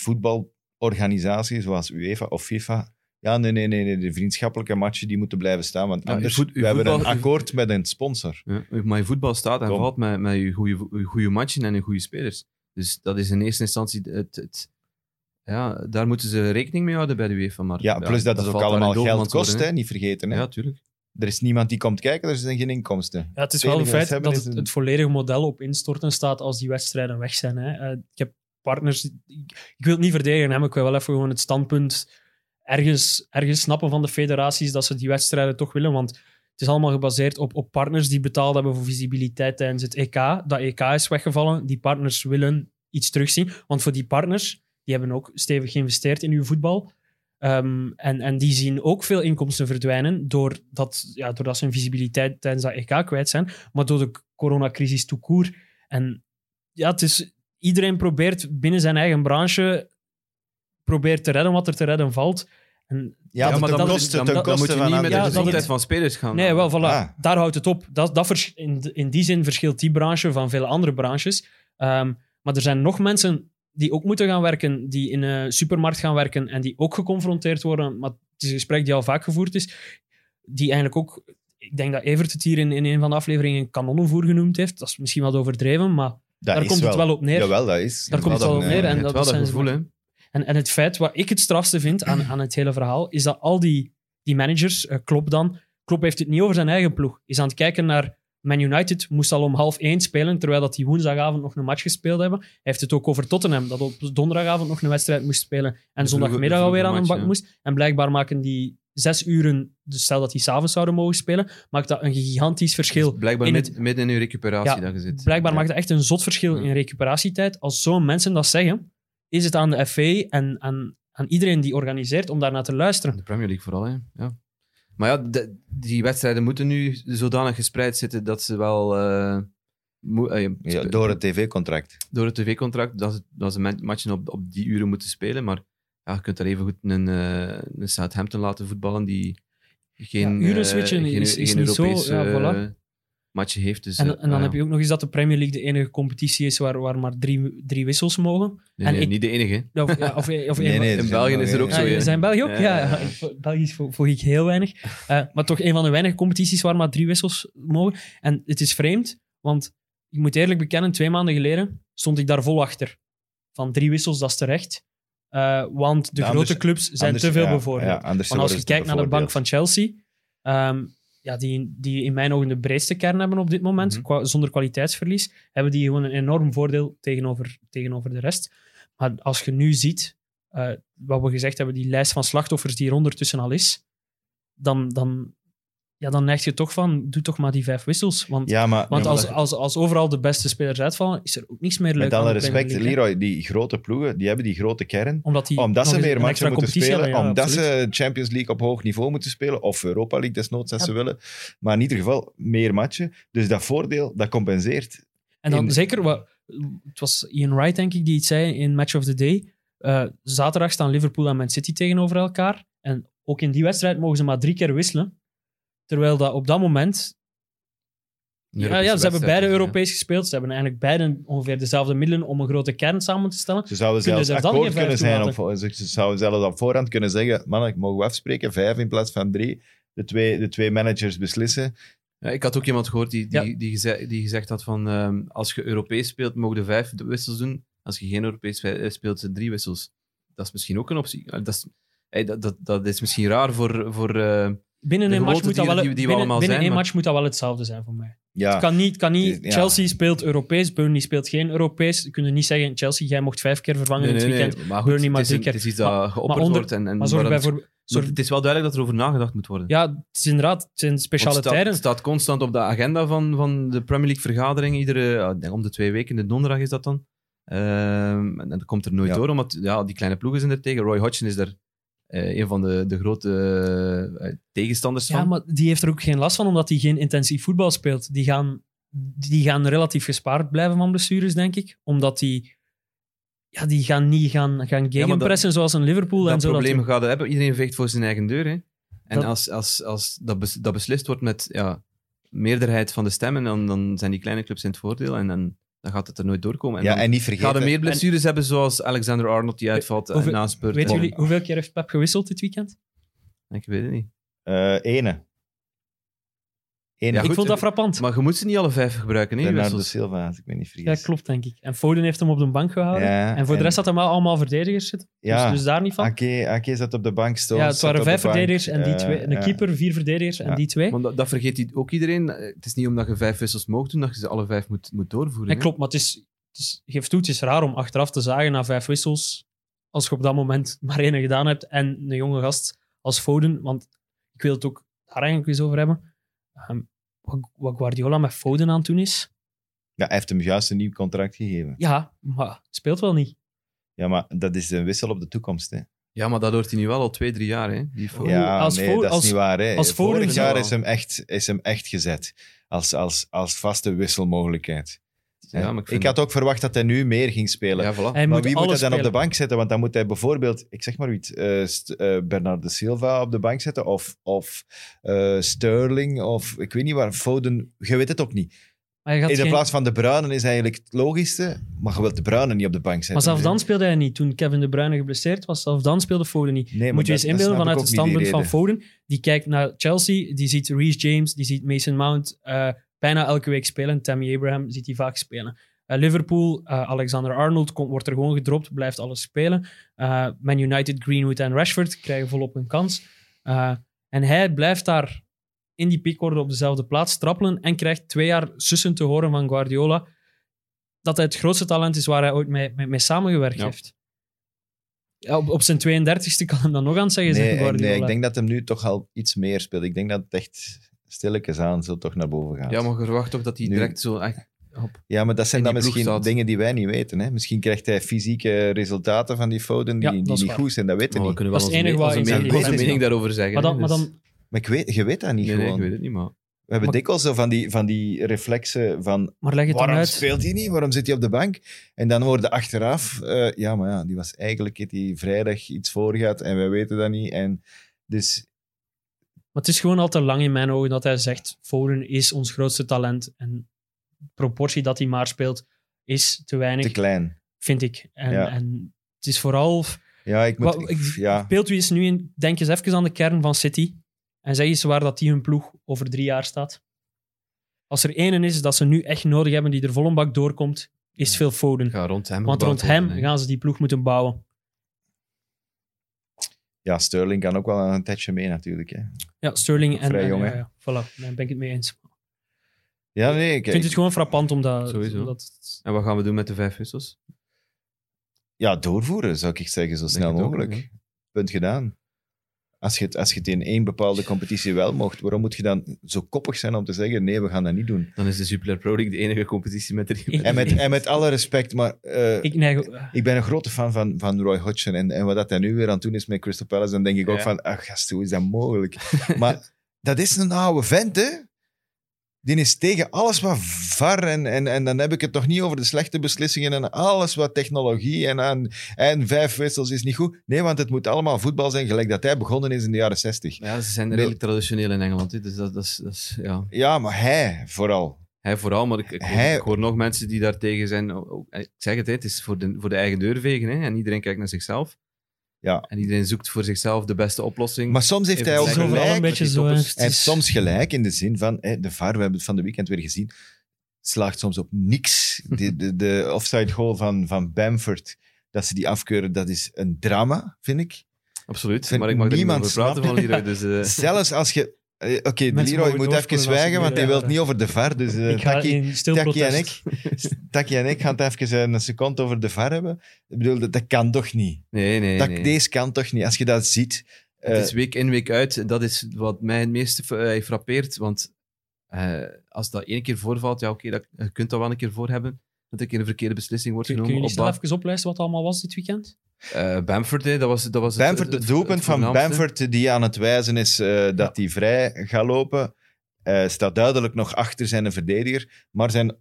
C: voetbalorganisatie zoals UEFA of FIFA... Ja, nee, nee, nee, nee, de vriendschappelijke matchen die moeten blijven staan, want
E: Ja,
C: anders
E: uw voet- uw
C: we hebben een
E: voetbal- uw-
C: akkoord met een sponsor.
E: Ja, maar je voetbal staat en
C: Kom.
E: valt met, met je goede, je goede matchen en je goede spelers. Dus dat is in eerste instantie het... het ja, daar moeten ze rekening mee houden bij de UEFA. Maar,
C: Ja, plus dat, het ook
E: valt daar in
C: allemaal geld
E: doofmans
C: kost,
E: worden,
C: hè, niet vergeten. Hè.
E: hè. Ja, tuurlijk.
C: Er is niemand die komt kijken, er zijn geen inkomsten.
D: Ja, het is
C: Het
D: wel een
C: enige dat
D: feit
C: ze hebben
D: dat
C: is
D: het,
C: een-
D: het volledige model op instorten staat als die wedstrijden weg zijn. Hè. Eh, ik heb partners... Ik, ik wil het niet verdedigen, hè, maar ik wil wel even gewoon het standpunt ergens, ergens snappen van de federaties dat ze die wedstrijden toch willen, want het is allemaal gebaseerd op, op partners die betaald hebben voor visibiliteit tijdens het EK. Dat EK is weggevallen. Die partners willen iets terugzien. Want voor die partners, die hebben ook stevig geïnvesteerd in uw voetbal. Ehm, en, en die zien ook veel inkomsten verdwijnen doordat, ja, doordat ze hun visibiliteit tijdens dat EK kwijt zijn. Maar door de coronacrisis tout court. En ja, het is, iedereen probeert binnen zijn eigen branche probeert te redden wat er te redden valt. En
C: Ja,
D: dat-
C: maar
D: dat-
C: dan
D: dat-
C: kost het
E: dan,
C: ten
E: dan moet
C: koste
E: je
C: van
E: niet
C: andere
E: met
D: Ja,
E: de
D: dat-
C: dingen.
E: gezondheid van spelers gaan.
D: Nee, wel, voilà.
C: Ah.
D: Daar houdt het op. Dat, dat vers- in, in die zin verschilt die branche van veel andere branches. Ehm, maar er zijn nog mensen die ook moeten gaan werken, die in een supermarkt gaan werken en die ook geconfronteerd worden. Maar het is een gesprek die al vaak gevoerd is, die eigenlijk ook... Ik denk dat Evert het hier in, in een van de afleveringen kanonnenvoer genoemd heeft. Dat is misschien wat overdreven, maar
C: Dat
D: daar
C: is
D: komt het wel op neer.
C: Jawel, dat is.
D: Daar komt het wel op neer. En
E: Het
D: dat
E: wel dat
D: zijn ze-
E: gevoel, hè.
D: En, en het feit, wat ik het strafste vind aan, aan het hele verhaal, is dat al die, die managers, eh Klopp dan, Klopp heeft het niet over zijn eigen ploeg. Is aan het kijken naar Man United, moest al om half één spelen, terwijl dat die woensdagavond nog een match gespeeld hebben. Hij heeft het ook over Tottenham, dat op donderdagavond nog een wedstrijd moest spelen en
E: vroege-
D: zondagmiddag
E: de vroege
D: alweer aan een
E: match,
D: bak
E: ja.
D: moest. En blijkbaar maken die zes uren, dus stel dat die s'avonds zouden mogen spelen, maakt dat een gigantisch verschil.
E: Dus blijkbaar
D: In
E: mid-
D: het-
E: midden in uw recuperatie
D: Ja,
E: dat je zit.
D: Blijkbaar
E: Ja.
D: maakt het echt een zot verschil
E: Ja.
D: in recuperatietijd. Als zo'n mensen dat zeggen, is het aan de FA en aan, aan iedereen die organiseert om daarnaar te luisteren.
E: De Premier League vooral, hè. Ja. Maar ja, de- die wedstrijden moeten nu zodanig gespreid zitten dat ze wel... eh, moe- eh,
C: Ja, door het tv-contract.
E: door het tv-contract dat ze, dat ze ma- matchen op, op die uren moeten spelen. Maar ja, je kunt er even goed een, eh, een Southampton laten voetballen die geen,
D: Ja, uren
E: eh,
D: switchen
E: geen,
D: is- is
E: geen
D: niet zo,
E: Europese,
D: ja, voilà.
E: eh, match heeft. Dus,
D: En, en dan heb je ook nog eens dat de Premier League de enige competitie is waar, waar maar drie, drie wissels mogen. en ik-
E: niet de enige. hè.
D: Of, ja, of, of
C: Nee,
D: één-
C: nee,
E: In
C: er zijn
E: België
C: nog-
E: is er ook
D: Ja,
E: zo, ja.
D: zijn België ook? Ja,
E: Ja, ja,
D: ja.
E: ja.
D: Voor- Belgisch vo- volg ik heel weinig. Eh, maar toch een van de weinige competities waar maar drie wissels mogen. En het is vreemd, want ik moet eerlijk bekennen, twee maanden geleden stond ik daar vol achter. Van drie wissels, dat is terecht. Eh, want de
C: Ja,
D: grote
C: anders-
D: clubs zijn
C: Anders-
D: te veel
C: ja,
D: bevoordeeld.
C: ja, anders
D: Want als
C: worden
D: je
C: ze
D: kijkt naar de bank
C: bevoordeeld.
D: van Chelsea, ehm, ja, die, die in mijn ogen de breedste kern hebben op dit moment,
E: Mhm.
D: kwa- zonder kwaliteitsverlies, hebben die gewoon een enorm voordeel tegenover, tegenover de rest. Maar als je nu ziet, eh, wat we gezegd hebben, die lijst van slachtoffers die er ondertussen al is, dan, dan, ja, dan neig je toch van, doe toch maar die vijf wissels. Want,
C: Ja, maar,
D: want
C: ja, maar
D: als, als, als overal de beste spelers uitvallen, is er ook niks meer leuk
C: met alle
D: aan de Premier
C: respect,
D: League, hè.
C: Leroy, die grote ploegen, die hebben die grote kern.
D: omdat, die
C: Omdat
D: nog
C: ze
D: eens
C: meer
D: een
C: matchen
D: extra
C: moeten
D: competitie
C: spelen,
D: hebben, ja,
C: omdat
D: absoluut.
C: ze Champions League op hoog niveau moeten spelen, of Europa League desnoods als
D: Ja.
C: ze willen. Maar in ieder geval meer matchen. Dus dat voordeel, dat compenseert.
D: En dan
C: In-
D: zeker, wat, het was Ian Wright denk ik die iets zei in Match of the Day. Eh, zaterdag staan Liverpool en Man City tegenover elkaar. En ook in die wedstrijd mogen ze maar drie keer wisselen. Terwijl dat op dat moment...
E: Een
D: Ja, ja,
E: Europese
D: ze hebben beide
E: wedstrijd,
D: Europees gespeeld. Ze hebben eigenlijk beide ongeveer dezelfde middelen om een grote kern samen te stellen.
C: Ze zouden
D: Kunnen
C: zelfs
D: ze er dan
C: akkoord
D: geen vijf
C: kunnen zijn.
D: toelaten?
C: Op, ze ze zouden zelfs op voorhand kunnen zeggen: mannen, ik mogen we afspreken, vijf in plaats van drie. De twee, de twee managers beslissen.
E: Ja, ik had ook iemand gehoord die, die,
D: Ja.
E: die, geze- die gezegd had van ehm, als je Europees speelt, mogen de vijf de wissels doen. Als je geen Europees spe- eh, speelt, zijn drie wissels. Dat is misschien ook een optie. Eh, Dat is, hey, dat, dat, dat is misschien raar voor... voor eh,
D: Binnen
E: De
D: een match
E: gewoontes
D: moet dat
E: die- die-
D: wel,
E: die we
D: binnen,
E: allemaal
D: binnen
E: zijn,
D: één
E: maar-
D: match moet dat wel hetzelfde zijn voor mij.
C: Ja,
D: Het kan niet, het kan niet.
C: Ja.
D: Chelsea speelt Europees, Burnley speelt geen Europees. Je kunt niet zeggen, Chelsea, jij mocht vijf keer vervangen in het weekend.
E: Maar
D: Burnley maar
E: het, is,
D: drie
E: een-
D: keer.
E: het is iets dat geopperd
D: onder-
E: wordt. En, en
D: Maar zorg
E: waar het-
D: bijvoorbeeld...
E: maar
D: zorg-
E: het is wel duidelijk dat er over nagedacht moet worden.
D: ja, het is inderdaad, het zijn
E: Want
D: speciale
E: het staat,
D: tijden.
E: het staat constant op de agenda van, van de Premier League vergadering. Iedere, ah, ik denk om de twee weken, de donderdag is dat dan. Ehm, en dat komt er nooit
C: Ja.
E: door, omdat ja, die kleine ploegen zijn er tegen. Roy Hodgson is daar eh, een van de, de grote eh, tegenstanders
D: Ja,
E: van.
D: maar die heeft er ook geen last van, omdat hij geen intensief voetbal speelt. Die gaan, die gaan relatief gespaard blijven van blessures, denk ik. Omdat die, ja, die gaan niet gaan, gaan gegenpressen zoals een Liverpool. en
E: dat
D: zo dat
E: probleem
D: we-
E: gaat hebben. Iedereen vecht voor zijn eigen deur. Hè. En
D: Dat-
E: als, als, als dat, bes- dat beslist wordt met ja, meerderheid van de stemmen, dan, dan zijn die kleine clubs in het voordeel en dan, dan gaat het er nooit doorkomen. En
C: ja,
E: dan
C: en niet
E: gaan er
C: vergeten.
E: meer blessures hebben, zoals Alexander Arnold die uitvalt en
D: hoeveel-
E: naspeurt.
D: Weet
E: en-
D: jullie hoeveel keer heeft Pep gewisseld dit weekend?
E: Ik weet het niet.
C: eh ene. Ene.
E: Ja,
D: ik
E: goed, dus
D: vond dat
E: eh,
D: frappant.
E: Maar je moet ze niet alle vijf gebruiken, hè?
C: Bernardo
E: wissels.
C: Silva, als ik me niet vergis.
D: Ja, klopt, denk ik. En Foden heeft hem op de bank gehouden.
C: Ja,
D: en voor de rest had hij wel allemaal verdedigers zitten.
C: ja,
D: Dus, dus daar niet van.
C: Ake, Ake zat op de bank, Stones
D: ja, het
C: zat
D: waren
C: op de
D: vijf
C: bank.
D: verdedigers en die
C: Eh,
D: twee. Een
C: ja.
D: keeper, vier verdedigers en
C: Ja.
D: die twee.
E: Want dat, dat vergeet die- ook iedereen. Eh, Het is niet omdat je vijf wissels mag doen, dat je ze alle vijf moet, moet doorvoeren.
D: Ja,
E: hè.
D: klopt, maar het is, het is, geef toe, het is raar om achteraf te zagen na vijf wissels, als je op dat moment maar één gedaan hebt en een jonge gast als Foden, want ik wil het ook daar eigenlijk eens over hebben, Ehm, wat- wat Guardiola met Foden aan het doen is.
C: Ja, hij heeft hem juist een nieuw contract gegeven.
D: Ja, maar speelt wel niet.
C: Ja, maar dat is een wissel op de toekomst. Hè.
E: Ja, maar dat hoort hij nu wel al twee, drie jaar. Hè? Die voor-
C: Ja,
D: als
C: nee,
D: voor-
C: dat is
D: als-
C: niet waar. Hè.
D: als voor-
C: Vorig jaar
E: wel.
C: is hem echt, is hem echt gezet. Als, als, als vaste wisselmogelijkheid.
E: Ja, maar
C: ik
E: ik vind-
C: had ook verwacht dat hij nu meer ging spelen.
E: Ja, voilà.
D: Hij
C: maar
D: moet
C: wie moet hij
D: alles
C: dan op de
D: spelen.
C: bank zetten? Want dan moet hij bijvoorbeeld, ik zeg maar iets, eh, St- eh, Bernardo Silva op de bank zetten. Of, of eh, Sterling. Of ik weet niet waar. Foden. Je weet het ook niet.
D: Maar, hij gaat
C: In de
D: geen-
C: plaats van de Bruinen is eigenlijk het logischste. Maar je wilt de Bruinen niet op de bank zetten.
D: maar zelfs
C: Dus-
D: dan speelde hij niet. Toen Kevin De Bruyne geblesseerd was, zelfs dan speelde Foden niet.
C: Nee, maar
D: Moet je
C: dat- dat
D: eens inbeelden
C: snap ik
D: vanuit
C: ook
D: het
C: niet, die
D: standpunt van
C: reden.
D: Foden. Die kijkt naar Chelsea, die ziet Reece James, die ziet Mason Mount eh, bijna elke week spelen. Tammy Abraham ziet hij vaak spelen. Eh, Liverpool, eh, Alexander Arnold komt, wordt er gewoon gedropt, blijft alles spelen. Eh, Man United, Greenwood en Rashford krijgen volop een kans. Eh, en hij blijft daar in die piekorde op dezelfde plaats trappelen en krijgt twee jaar sussen te horen van Guardiola dat hij het grootste talent is waar hij ooit mee, mee, mee samengewerkt
E: Ja.
D: heeft. Ja, op, op zijn 32e kan hem dan nog aan het zeggen zijn,
C: Nee, ik-
D: Guardiola.
C: nee, ik denk dat hem nu toch al iets meer speelt. Ik denk dat het echt stilletjes aan zo toch naar boven gaat.
E: Ja, maar je verwacht toch dat hij
C: Nu-
E: direct zo echt op.
C: Ja, maar dat zijn
E: in
C: dan
E: die ploeg
C: misschien
E: staat.
C: dingen die wij niet weten. Hè? Misschien krijgt hij fysieke resultaten van die fouten die,
D: Ja, dat
C: die
D: is
C: niet
D: waar.
C: goed zijn. Dat weten Oh, we niet.
E: kunnen
D: Dat is het enige wat
E: onze,
D: in zijn
E: mening, onze
C: leven-
E: mening daarover zeggen.
D: maar dan,
E: hè,
D: maar
E: dus-
D: dan,
C: Maar ik weet, je weet dat niet
E: Nee, nee,
C: gewoon.
E: ik weet het niet, maar...
C: We hebben
D: Maar-
C: dikwijls zo van die, van die reflexen van
D: maar leg het dan
C: waarom
D: uit.
C: speelt hij niet? Waarom zit hij op de bank? En dan hoorde achteraf, eh, ja, maar ja, die was eigenlijk heeft hij vrijdag iets voorgehad en wij weten dat niet. En dus
D: Maar het is gewoon al te lang in mijn ogen dat hij zegt: Foden is ons grootste talent. En de proportie dat hij maar speelt is te weinig,
C: te klein.
D: vind ik. En,
C: Ja.
D: en het is vooral.
C: Ja, ik moet... ik-
D: Wat- ik-
C: ja.
D: Speelt u eens nu in, denk eens even aan de kern van City. En zeg eens waar dat die hun ploeg over drie jaar staat. Als er één is dat ze nu echt nodig hebben die er vol een bak doorkomt, is het veel Foden.
E: Ga rond hem
D: Want
E: gebouwd
D: rond hem
E: worden, hè.
D: gaan ze die ploeg moeten bouwen.
C: ja, Sterling kan ook wel een tijdje mee natuurlijk. Hè.
D: Ja, Sterling en...
C: Vrij
D: en-
C: jong,
D: ja,
C: hè?
D: ja, voilà, daar ben ik het mee eens.
C: Ja, nee, ik,
D: Ik vind het gewoon frappant om dat...
E: Sowieso.
D: om dat-
E: En wat gaan we doen met de vijf wissels?
C: ja, doorvoeren zou ik zeggen, zo snel
E: het ook,
C: mogelijk.
E: ja.
C: Punt gedaan. Als je, het, als je het in één bepaalde competitie wel mocht, waarom moet je dan zo koppig zijn om te zeggen: nee, we gaan dat niet doen?
E: Dan is de Jupiler Pro League de enige competitie met drie.
D: Ik-
C: En met, en met alle respect, maar eh, ik,
D: ik neig... eh,
C: ben een grote fan van, van Roy Hodgson. En, en wat dat hij nu weer aan het doen is met Crystal Palace, dan denk ik ook
E: Ja.
C: van: ach, gast, hoe is dat mogelijk? maar dat is een oude vent, hè? Die is tegen alles wat var. En, en, en dan heb ik het nog niet over de slechte beslissingen en alles wat technologie en, aan, en vijf wissels is niet goed. Nee, want het moet allemaal voetbal zijn, gelijk dat hij begonnen is in de jaren zestig.
E: Ja, ze zijn redelijk traditioneel in Engeland. hè, Dus dat, dat, is, dat is- ja.
C: Ja, maar hij vooral.
E: Hij vooral, maar ik, ik, hoor,
C: Hij-
E: ik hoor nog mensen die daartegen zijn. Ook- ook- Ik zeg het, hè, het is voor de, voor de eigen deur vegen. Hè, en iedereen kijkt naar zichzelf.
C: Ja.
E: En iedereen zoekt voor zichzelf de beste oplossing.
C: Maar soms heeft
E: Even
C: hij ook
D: het is
E: lekker
D: overal
C: gelijk.
D: een beetje
E: met die
D: zo... hè.
E: toppers.
D: Het
C: Hij heeft
D: is-
C: soms gelijk in de zin van, hè, de VAR, we hebben het van de weekend weer gezien, slaagt soms op niks. De, de, de offside goal van, van Bamford, dat ze die afkeuren, dat is een drama, vind ik.
E: Absoluut.
C: Vind
E: Maar ik mag er niet meer
C: niemand
E: over praten van
C: snapt-
E: hieruit. Dus, eh,
C: Zelfs als je Eh, Oké, de
D: Mensen
C: Leroy
D: mogen
C: moet even
D: doorspoelen als ze
C: zwijgen, want hij
D: willen,
C: wil niet over de VAR. Dus eh,
D: ik ga
C: Taki,
D: in stil
C: Taki en
D: protest.
C: Taki en ik gaan het even eh, een seconde over de VAR hebben. Ik bedoel, dat, dat kan toch niet?
E: Nee, nee,
C: dat,
E: nee.
C: Deze kan toch niet? Als je dat ziet... eh,
E: Het is week in, week uit. En Dat is wat mij het meeste eh, frappeert. Want eh, als dat één keer voorvalt, ja oké, dat- je kunt dat wel een keer voor hebben. Dat er een keer een verkeerde beslissing wordt
D: Kun, kun
E: genomen.
D: jullie
E: op
D: snel
E: ba-
D: even oplijsten wat het allemaal was dit weekend?
E: eh, Bamford, hè, dat was, dat was het-
C: Bamford,
E: het,
C: het
E: het-
C: doelpunt
E: het
C: van
E: voornaamste.
C: Bamford die aan het wijzen is eh, dat hij vrij gaat lopen, eh, staat duidelijk nog achter zijn verdediger, maar zijn,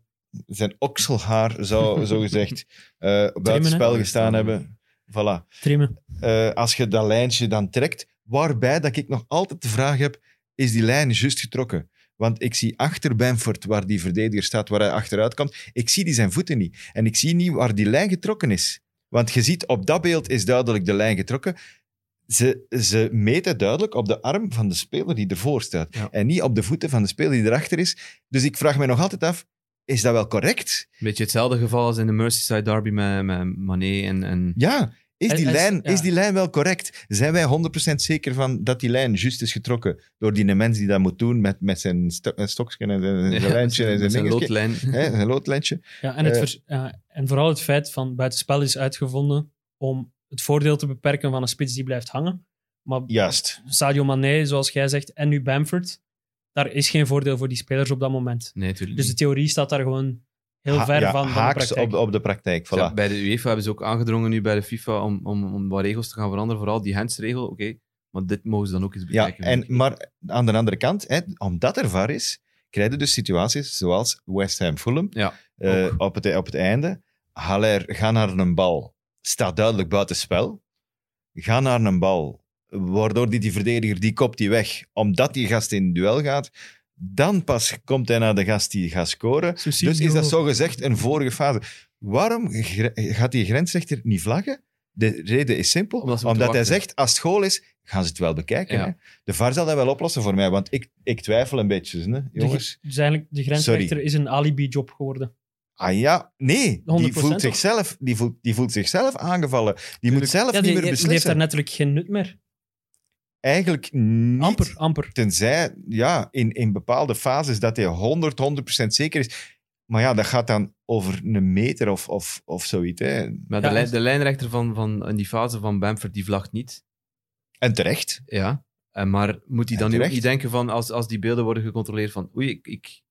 C: zijn okselhaar zou zogezegd eh buiten spel
D: Trimmen,
E: hè?
C: gestaan hebben. Voilà.
D: Trimmen.
C: Eh, als je dat lijntje dan trekt, waarbij dat ik nog altijd de vraag heb, is die lijn juist getrokken? Want ik zie achter Bamford, waar die verdediger staat, waar hij achteruit komt, ik zie die zijn voeten niet. En ik zie niet waar die lijn getrokken is. Want je ziet, op dat beeld is duidelijk de lijn getrokken. Ze, ze meten duidelijk op de arm van de speler die ervoor staat.
E: Ja.
C: En niet op de voeten van de speler die erachter is. Dus ik vraag me nog altijd af, is dat wel correct?
E: Een beetje hetzelfde geval als in de Merseyside derby met, met Mané en... en
C: Ja, is
D: En-
C: die,
D: en-
C: lijn,
D: ja.
C: is die lijn wel correct? Zijn wij 100% zeker van dat die lijn juist is getrokken door die mens die dat moet doen met, met zijn sto- met stokje en zijn, zijn
E: Ja,
C: lijntje en zijn,
E: met zijn
C: dingetje,
E: loodlijn.
C: hè, zijn loodlijntje?
D: Ja, en, het
C: Eh.
D: vers- ja, en vooral het feit van buitenspel is uitgevonden om het voordeel te beperken van een spits die blijft hangen. Maar
C: Juist.
D: Sadio Mané, zoals jij zegt, en nu Bamford, daar is geen voordeel voor die spelers op dat moment.
E: Nee, natuurlijk
D: Dus de theorie staat daar gewoon heel
C: Ha-
D: ver
C: ja,
D: van, van de
C: haaks op,
D: praktijk.
C: op de praktijk. Voilà.
E: Ja, bij de UEFA hebben ze ook aangedrongen nu bij de FIFA om, om, om wat regels te gaan veranderen. Vooral die handsregel, oké. maar dit mogen ze dan ook eens
C: Ja,
E: bekijken.
C: en, maar aan de andere kant, hè, omdat er VAR is, krijg je dus situaties zoals West Ham Fulham.
E: Ja,
C: Eh,
E: ook.
C: op, het, op het einde, Haller gaat naar een bal, staat duidelijk buiten spel. Ga naar een bal, waardoor die, die verdediger die kopt die weg, omdat die gast in het duel gaat. Dan pas komt hij naar de gast die gaat scoren.
D: Susilio.
C: Dus is dat zogezegd een vorige fase. Waarom gre- gaat die grensrechter niet vlaggen? De reden is simpel.
E: Omdat
C: Omdat,
E: ze moeten
C: hij
E: wachten.
C: zegt, als het goal is, gaan ze het wel bekijken.
E: Ja.
C: Hè? De VAR zal dat wel oplossen voor mij, want ik, ik twijfel een beetje. Hè,
D: De gr-
C: jongens.
D: dus eigenlijk, de grensrechter is een alibi-job geworden.
C: Ah ja, nee. Die
D: 100%
C: voelt,
D: of-
C: zichzelf, die, voelt, die voelt zichzelf aangevallen. Die moet zelf
D: Ja,
C: niet
D: die,
C: meer
D: die heeft
C: beslissen.
D: daar natuurlijk geen nut meer.
C: Eigenlijk niet.
D: Amper, amper.
C: Tenzij, ja, in, in bepaalde fases dat hij 100, 100% zeker is. Maar ja, dat gaat dan over een meter of, of, of zoiets. Hè.
E: Maar de,
D: Ja,
E: lijn-
D: en-
E: de lijnrechter van, van in die fase van Bamford, die vlagt niet.
C: En terecht.
E: Ja. En maar moet hij
C: Ja,
E: dan nu ook
C: terecht.
E: niet denken van, als, als die beelden worden gecontroleerd, van oei, ik, ik,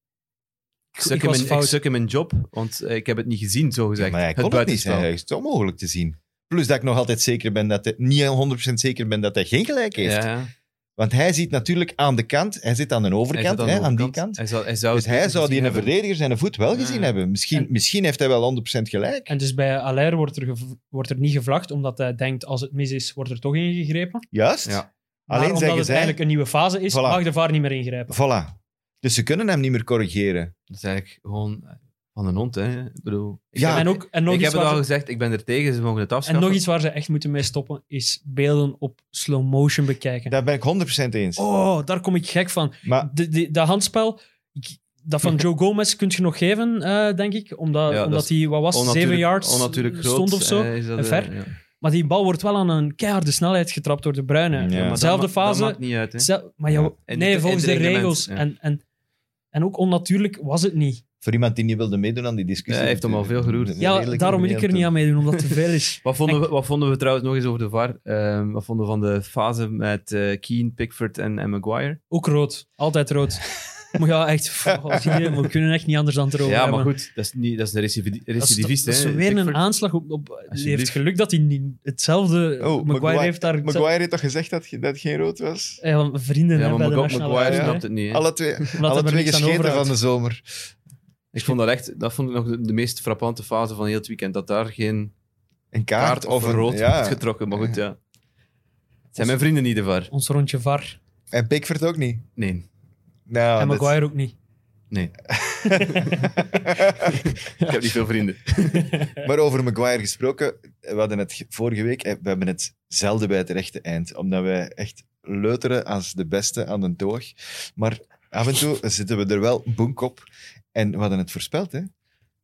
E: ik, suk,
D: ik
E: in
D: was
E: mijn, ik
D: fout.
E: suk in mijn job, want eh, ik heb het niet gezien, zo gezegd.
C: maar hij kon het niet
E: buitenspel.
C: zijn. Hij is onmogelijk te zien. Plus dat ik nog altijd zeker ben dat hij, niet 100% zeker ben dat hij geen gelijk heeft.
E: Ja, ja.
C: Want hij zit natuurlijk aan de kant, hij zit aan de
E: Hij
C: overkant,
E: zit aan de
C: hè, aan die
E: overkant.
C: kant.
E: Hij zou, hij zou,
C: Dus
E: het
C: hij
E: niet
C: zou die
E: gezien
C: een
E: hebben.
C: verdediger zijn voet wel gezien
E: Ja.
C: hebben. Misschien,
D: En-
C: misschien heeft hij wel 100% gelijk.
D: En dus bij Allaire wordt er, gev- wordt er niet gevlacht, omdat hij denkt, als het mis is, wordt er toch ingegrepen.
C: Juist.
E: Ja.
D: Maar
C: Alleen
D: omdat
C: zeggen
D: het
C: zij...
D: eigenlijk een nieuwe fase is,
C: Voilà.
D: mag de VAR niet meer ingrijpen.
C: Voilà. Dus ze kunnen hem niet meer corrigeren.
E: Dat is eigenlijk gewoon eh, van een hond, hè. Ik bedoel... ik
C: Ja,
E: heb-
D: en, ook, en, nog
E: ik
D: iets
E: heb het al
D: waar ze,
E: gezegd, ik ben er tegen, ze mogen het
D: en
E: afschaffen.
D: nog iets waar ze echt moeten mee stoppen, is beelden op slow motion bekijken.
C: Daar ben ik 100% eens.
D: Oh, daar kom ik gek van.
C: Maar
D: De, de, dat handspel, ik- dat van Joe Gomez kun je nog geven, eh, denk ik. Omdat,
E: Ja, dat
D: omdat
E: is
D: hij, wat was het,
E: Onnatuurlijk-
D: zeven yards
E: onnatuurlijk groot,
D: stond of zo.
E: eh, is dat,
D: en
E: eh,
D: ver.
E: ja.
D: Maar die bal wordt wel aan een keiharde snelheid getrapt door de Bruyne.
C: Ja.
E: Maar
D: Zelfde
E: dat ma-
D: fase.
E: Dat maakt niet uit, hè.
D: Zel- maar
C: Ja.
D: jou-
E: En
D: nee,
E: in de-
D: volgens
E: in
D: de,
E: de
D: regels.
E: reglementen,
D: En, en, en ook onnatuurlijk was het niet.
C: voor iemand die niet wilde meedoen aan die discussie...
E: Ja, hij heeft hem al veel geroerd.
C: Een
D: Ja,
C: redelijke
D: daarom wil ik er niet aan meedoen, omdat het te veel is.
E: Wat vonden, we, wat vonden we trouwens nog eens over de VAR? Ehm, wat vonden we van de fase met eh Keane, Pickford en, en Maguire?
D: Ook rood. Altijd rood. Maar ja, echt. pff, als iedereen- we kunnen echt niet anders dan het erover
E: Ja, maar
D: hebben.
E: goed, dat is, niet, dat is een recidivi-
D: Dat is, dat
E: recidivist.
D: is
E: hè,
D: weer een
E: Pickford.
D: aanslag op... op hij heeft
E: Alsjeblieft.
D: geluk dat hij niet hetzelfde...
C: Oh,
D: Maguire, heeft daar... hetzelfde-
C: Maguire heeft toch gezegd dat, ge- dat het geen rood was?
D: Ja, want vrienden
E: Ja,
D: hè,
E: maar
D: bij de
E: Magu-
D: nationale
E: Maguire
D: ploeg, hè.
E: snapt het niet. hè.
C: Alle twee,
D: Omdat
C: alle
D: hij er
C: twee
D: niks aan
C: gescheten
D: overhoudt.
C: van de zomer.
E: Ik vond dat echt, dat vond ik nog de, de meest frappante fase van heel het weekend. Dat daar geen
C: Een kaart,
E: kaart of, een rood
C: ja.
E: werd getrokken. Maar goed, ja. Het zijn mijn vrienden niet de VAR.
D: Ons rondje VAR.
C: En Pickford ook niet.
E: Nee.
C: Nou,
E: Ah,
D: en
C: dat-
D: Maguire ook niet.
E: Nee. Ik heb niet veel vrienden.
C: Maar over Maguire gesproken, we hadden het ge- vorige week, eh, we hebben het zelden bij het rechte eind, omdat wij echt leuteren als de beste aan de toog. Maar af en toe zitten we er wel boek op. En we hadden het voorspeld, hè.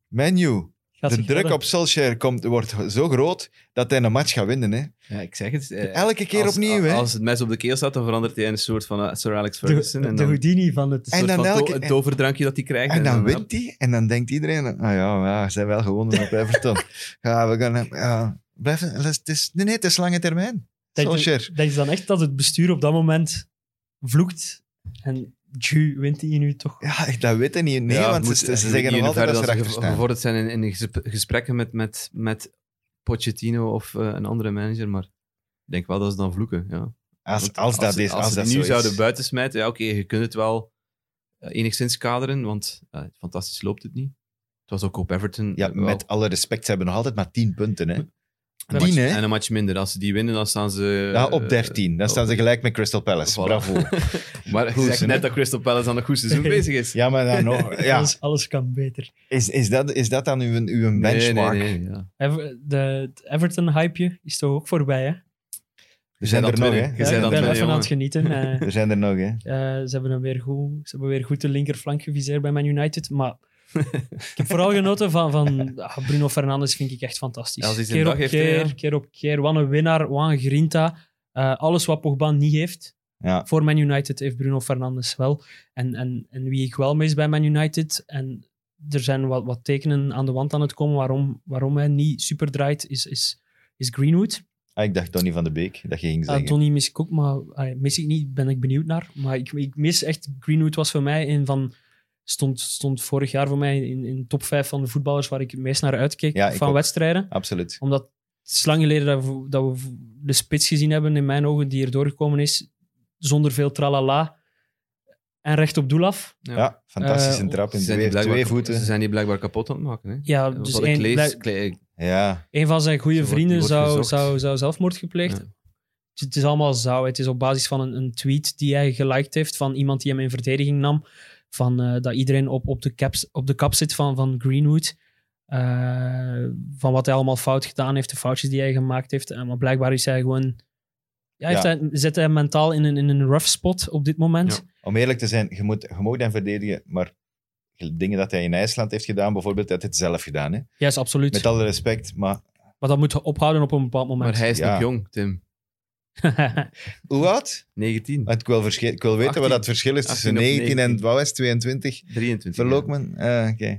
C: Menu,
D: Gaat
C: de
D: zich
C: druk
D: redden.
C: op Solskjaer komt, wordt zo groot dat hij een match gaat winnen. Hè.
E: Ja, ik zeg het. eh,
C: Elke keer
E: als-
C: opnieuw. hè.
E: Als het mes op de keel staat, dan verandert hij in een soort van eh, Sir Alex Ferguson.
D: De,
E: en
D: de
E: dan,
D: Houdini van het...
E: een soort
C: En dan
E: van to-
C: elke-
E: het toverdrankje dat hij krijgt.
C: En dan
E: ja.
C: wint hij en dan denkt iedereen, ah ja, ja ze zijn wel gewonnen op Everton. ja, we gaan hem- ja, blijven. Het is, nee, nee, het is lange termijn.
D: Dat je,
C: Solskjaer.
D: dat je dan echt dat het bestuur op dat moment vloekt en Ju wint die nu toch.
C: Ja, ik- dat weet hij niet. Nee,
E: Ja,
C: want
E: moet-
C: ze, ze
E: eh,
C: zeggen nog
E: hier
C: altijd
E: verder
C: dat ze
E: ge-
C: erachter staan.
E: gevorderd zijn in, in de gesp- gesprekken met, met, met Pochettino of eh, een andere manager, maar ik denk wel dat ze dan vloeken. Ja.
C: Als,
E: Want
C: als dat
E: ze-
C: is,
E: als
C: als
E: ze
C: dat
E: die
C: zo
E: nu
C: is.
E: zouden buiten smijten, ja oké, je kunt het wel eh, enigszins kaderen, want eh, fantastisch loopt het niet. Het was ook op Everton.
C: Ja,
E: eh, wel
C: met alle respect, ze hebben nog altijd maar 10 punten. Hè.
E: een
C: tien,
E: match-
C: hè?
E: En een match minder. Als ze die winnen, dan staan ze...
C: Ja, op
E: eh,
C: 13. Dan staan ze gelijk met Crystal Palace.
E: Voilà.
C: Bravo.
E: Maar ik
C: Goed,
E: zeg
C: hè?
E: net dat Crystal Palace aan een goed seizoen bezig is.
C: Ja, maar dan nog. Ja.
D: Alles, alles kan beter.
C: Is, is, dat, is dat dan uw, uw
E: Nee,
C: benchmark?
E: Nee, nee, ja.
D: Ever- de, het Everton-hypeje is toch ook voorbij, hè?
C: Er zijn
E: bent
C: er
E: aan
C: nog,
E: het winnen.
C: hè?
E: Je
D: Ja,
E: zei
D: ik
E: dat
D: ben
E: wel,
D: even aan
E: jongen.
D: het genieten. eh.
C: Er zijn er nog, hè?
D: Eh, ze, hebben hem weer goed, ze hebben weer goed de linkerflank geviseerd bij Man United. Maar ik heb vooral genoten van, van ah, Bruno Fernandes, vind ik echt fantastisch.
E: Als hij zijn
D: keer
E: dag
D: op
E: heeft, eh,
D: keer,
E: hè, ja.
D: keer op keer. Wat een winnaar, wat een grinta. Eh, alles wat Pogba niet heeft,
C: Ja.
D: voor Man United heeft Bruno Fernandes wel. En, en, en wie ik wel mis bij Man United, en er zijn wat, wat tekenen aan de wand aan het komen waarom, waarom hij niet super draait, is, is, is Greenwood.
C: Ah, ik dacht Donny van de Beek dat je ging
D: Ja,
C: zeggen.
D: Donny mis ik ook, maar ah, mis ik niet, ben ik benieuwd naar. Maar ik, ik mis echt, Greenwood was voor mij een van, stond, stond vorig jaar voor mij in, in top 5 van de voetballers waar ik het meest naar uitkeek
C: Ja, ik
D: van
C: ook.
D: wedstrijden.
C: Absoluut.
D: Omdat het is lang geleden dat we, dat we de spits gezien hebben, in mijn ogen, die er doorgekomen is, zonder veel tralala en recht op doel af.
C: Ja, fantastische
D: Eh,
C: trap
E: Ze
C: in
E: zijn, die
C: twee,
E: blijkbaar,
C: twee
E: ze
C: voeten.
E: zijn die blijkbaar kapot aan het maken. Hè?
D: Ja,
E: Wat
D: dus
E: ik
D: één-
E: lees,
D: blij-
E: kle-
C: Ja,
D: Een van zijn goede
E: Zo wordt-
D: vrienden
E: wordt
D: zou,
E: gezocht.
D: zou, zou zelfmoord gepleegd.
E: Ja.
D: Het- Het is allemaal zou. Het is op basis van een, een tweet die hij geliked heeft van iemand die hem in verdediging nam. Van, eh, dat iedereen op, op, de caps, op de kap zit van, van Greenwood. Eh, van wat hij allemaal fout gedaan heeft, de foutjes die hij gemaakt heeft. En, maar blijkbaar is hij gewoon... Ja, heeft
C: Ja.
D: Hij, zit hij mentaal in een, in een rough spot op dit moment.
C: om eerlijk te zijn, je moet, je moet hem verdedigen, maar dingen dat hij in IJsland heeft gedaan, bijvoorbeeld, dat hij het zelf gedaan. Hè?
D: Ja, is absoluut.
C: Met alle respect, maar
D: Maar dat moet je ophouden op een bepaald
E: Maar
D: moment.
E: hij is
C: Ja.
E: nog jong, Tim.
C: hoe oud?
E: 19,
C: Want ik wil, verschil, ik wil weten wat
E: 18.
C: dat verschil is tussen
E: 18 of
C: 19 en
E: 19.
C: wat was het, 22.
E: 23. ja.
C: Verlookman, Ah, oké.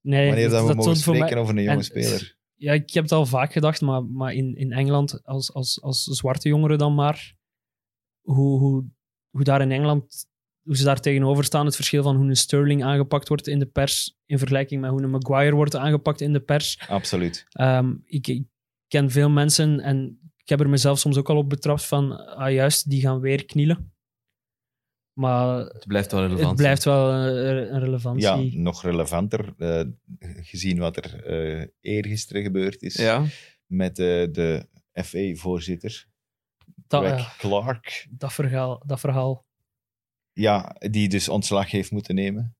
D: nee,
C: Wanneer dat we mogen
D: toont voor mij-
C: spreken over een jonge
D: en-
C: speler.
D: Ja, ik heb het al vaak gedacht, maar, maar in, in Engeland, als, als, als zwarte jongeren dan maar, hoe, hoe, hoe daar in Engeland, hoe ze daar tegenover staan, het verschil van hoe een Sterling aangepakt wordt in de pers in vergelijking met hoe een Maguire wordt aangepakt in de pers.
C: Absoluut.
D: Ehm, ik, ik ken veel mensen en ik heb er mezelf soms ook al op betrapt van, ah juist, die gaan weer knielen. Maar
E: Het blijft wel relevant.
D: het blijft wel een, een
C: Ja,
D: relevantie.
C: nog relevanter, eh, gezien wat er eh eergisteren gebeurd is
E: Ja,
C: met eh, de FA-voorzitter,
D: dat,
C: Greg
D: ja,
C: Clark.
D: dat verhaal. Dat verhaal.
C: Ja, die dus ontslag heeft moeten nemen.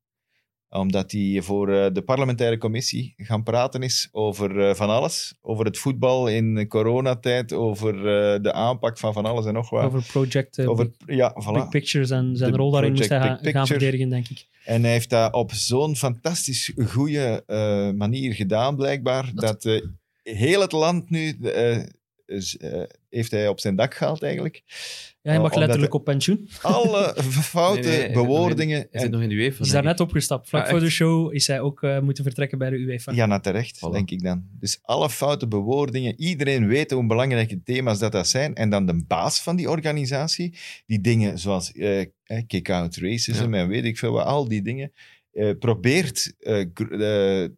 C: Omdat hij voor eh, de parlementaire commissie gaan praten is over eh, van alles. Over het voetbal in coronatijd, over eh, de aanpak van van alles en nog wat.
D: Over Project eh,
C: Over, ja,
D: Big
C: voilà.
D: Picture zijn, zijn
C: De
D: rol daarin moest
C: Project
D: hij
C: Big
D: gaan- gaan
C: Picture.
D: verdedigen, denk ik.
C: En hij heeft dat op zo'n fantastisch goede eh, manier gedaan, blijkbaar. Dat, eh, heel het land nu eh, is, eh, heeft hij op zijn dak gehaald, eigenlijk.
D: Ja, hij
C: Eh,
D: mag
C: omdat
D: letterlijk op pensioen.
C: Alle foute
E: Nee, nee, hij zit nog in-
C: bewoordingen.
E: hij zit nog in de UEFA.
D: Hij
E: denk
D: is daar
E: ik.
D: net opgestapt. Vlak
E: Ja,
D: voor de
E: echt.
D: show is hij ook eh, moeten vertrekken bij de UEFA.
C: Ja, naar terecht,
E: Voilà.
C: denk ik dan. Dus alle foute bewoordingen, iedereen weet hoe belangrijke thema's dat, dat zijn. En dan de baas van die organisatie, die dingen zoals eh, eh, kick-out racism en weet ik veel wat, al die dingen, eh, probeert eh, gr- eh,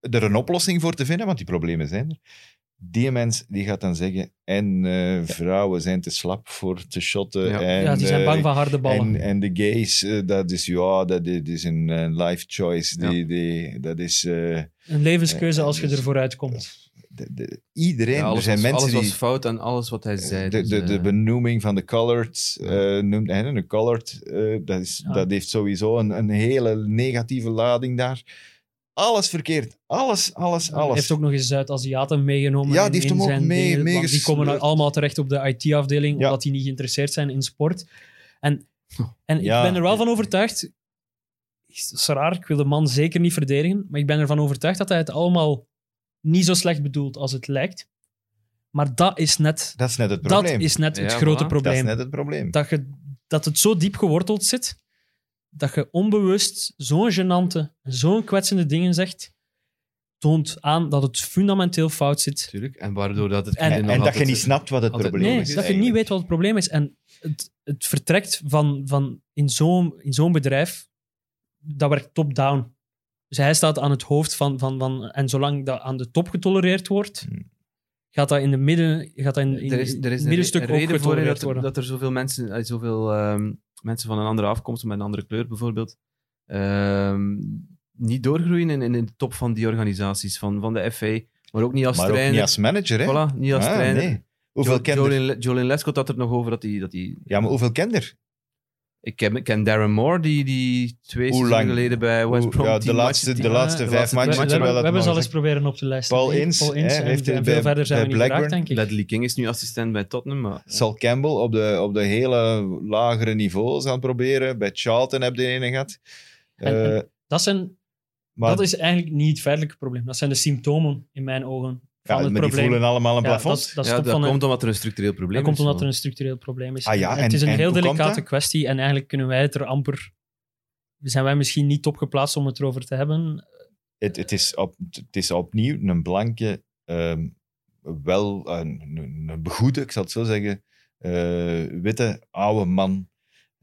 C: er een oplossing voor te vinden, want die problemen zijn er. Die mens die gaat dan zeggen, en eh, vrouwen zijn te slap voor te shotten.
E: Ja.
C: En,
D: ja, die zijn
C: eh,
D: bang van harde ballen.
C: en, en de gays, eh, dat is ja, dat i- dat is een een life choice. Die, die, dat is. eh,
D: een levenskeuze
C: eh,
D: als je
C: dus-
D: ervoor uitkomt.
C: de- de- iedereen.
E: Ja, alles,
C: er zijn
E: was,
C: mensen
E: alles
C: die.
E: was fout aan alles wat hij zei.
C: de,
E: dus,
C: de, de
E: eh,
C: benoeming van de colored, eh, noemt hij een colored, eh, dat, is,
D: Ja.
C: dat heeft sowieso een, een hele negatieve lading daar. Alles verkeerd. Alles, alles,
D: Hij
C: alles.
D: heeft ook nog eens Zuid-Aziaten meegenomen.
C: Ja,
D: in-
C: die heeft
D: in
C: hem ook
D: zijn
C: mee-
D: dingen, want Die
C: meegesleurd.
D: komen dan allemaal terecht op de IT-afdeling,
C: Ja.
D: omdat die niet geïnteresseerd zijn in sport. En, en
C: Ja.
D: ik ben er wel van overtuigd, dat is raar, ik wil de man zeker niet verdedigen, maar ik ben ervan overtuigd dat hij het allemaal niet zo slecht bedoelt als het lijkt. Maar dat is net,
C: Dat is net het
D: dat
C: probleem.
D: is net het
E: Ja,
D: grote
E: voilà.
C: dat is
D: probleem.
C: net het probleem.
D: dat, je, dat het zo diep geworteld zit, dat je onbewust zo'n gênante, zo'n kwetsende dingen zegt, toont aan dat het fundamenteel fout zit.
E: Natuurlijk. En waardoor dat het...
D: En-
E: einde
C: en
E: nog
C: en dat je
E: altijd-
C: niet snapt wat het
E: altijd-
C: probleem
D: Nee,
C: is.
D: dat je niet weet wat het probleem is. En het, het vertrekt van, van in zo'n in zo'n bedrijf, dat werkt top-down. Dus hij staat aan het hoofd van, van, van... En zolang dat aan de top getolereerd wordt,
C: Hmm.
D: gaat dat in de midden... Gaat dat in, in,
E: er is, er is
D: in
E: een
D: middenstuk
E: re-
D: ook
E: reden voor hè,
D: getolereerd
E: dat, er-
D: worden.
E: dat er zoveel mensen, eh, zoveel ehm, mensen van een andere afkomst, met een andere kleur bijvoorbeeld, ehm, niet doorgroeien in, in de top van die organisaties, van, van de FA, maar ook niet als
C: Maar ook
E: trainer.
C: niet als manager, hè?
E: Voilà, niet als
C: Ah,
E: trainer.
C: nee. Hoeveel
E: Jo-
C: kender?
E: Jolien, Le- Jolien Lescott had er nog over dat hij... Dat hij
C: Ja, maar hoeveel kender?
E: ik ken, ik ken Darren Moore, die, die twee
C: Hoe
E: seizoenen
C: lang?
E: geleden bij West Brom...
C: ja,
E: tien
C: de laatste,
E: matchen-
C: de
E: tien-
C: laatste
E: de
C: vijf
E: laatste
C: matchen.
E: matchen.
D: we, we, we
C: terwijl dat
D: hebben ze al
C: nog
D: eens proberen op te lijsten.
C: Paul
D: Nee,
C: Ince, hè,
D: en
C: heeft hij
D: veel
C: bij-
D: verder zijn
C: bij
D: we niet geraakt,
C: Blackburn.
D: denk ik.
E: Ledley King is nu assistent bij Tottenham, maar...
C: Sal Campbell op de, op de hele lagere niveaus aan het proberen. Bij Charlton heb je een gehad.
D: En-
C: Eh,
D: Dat, zijn,
C: maar
D: dat is eigenlijk niet het feitelijke probleem. Dat zijn de symptomen, in mijn ogen,
C: ja,
D: van het
C: maar die
D: probleem.
C: voelen allemaal een
D: Ja,
C: plafond.
D: dat, is- dat, is
E: ja,
D: top
E: dat
D: van een-
E: komt omdat er een structureel probleem
D: dat komt
E: is.
D: omdat
E: wel.
D: er een structureel probleem is.
C: Ah ja, en-
D: het is een
C: en
D: heel
C: hoe komt
D: delicate
C: dat?
D: kwestie en eigenlijk kunnen wij het er amper... Zijn wij misschien niet opgeplaatst om het erover te hebben?
C: het, het, is op, het is opnieuw een blanke, ehm, wel een, een- een begoede, ik zal het zo zeggen, eh, witte oude man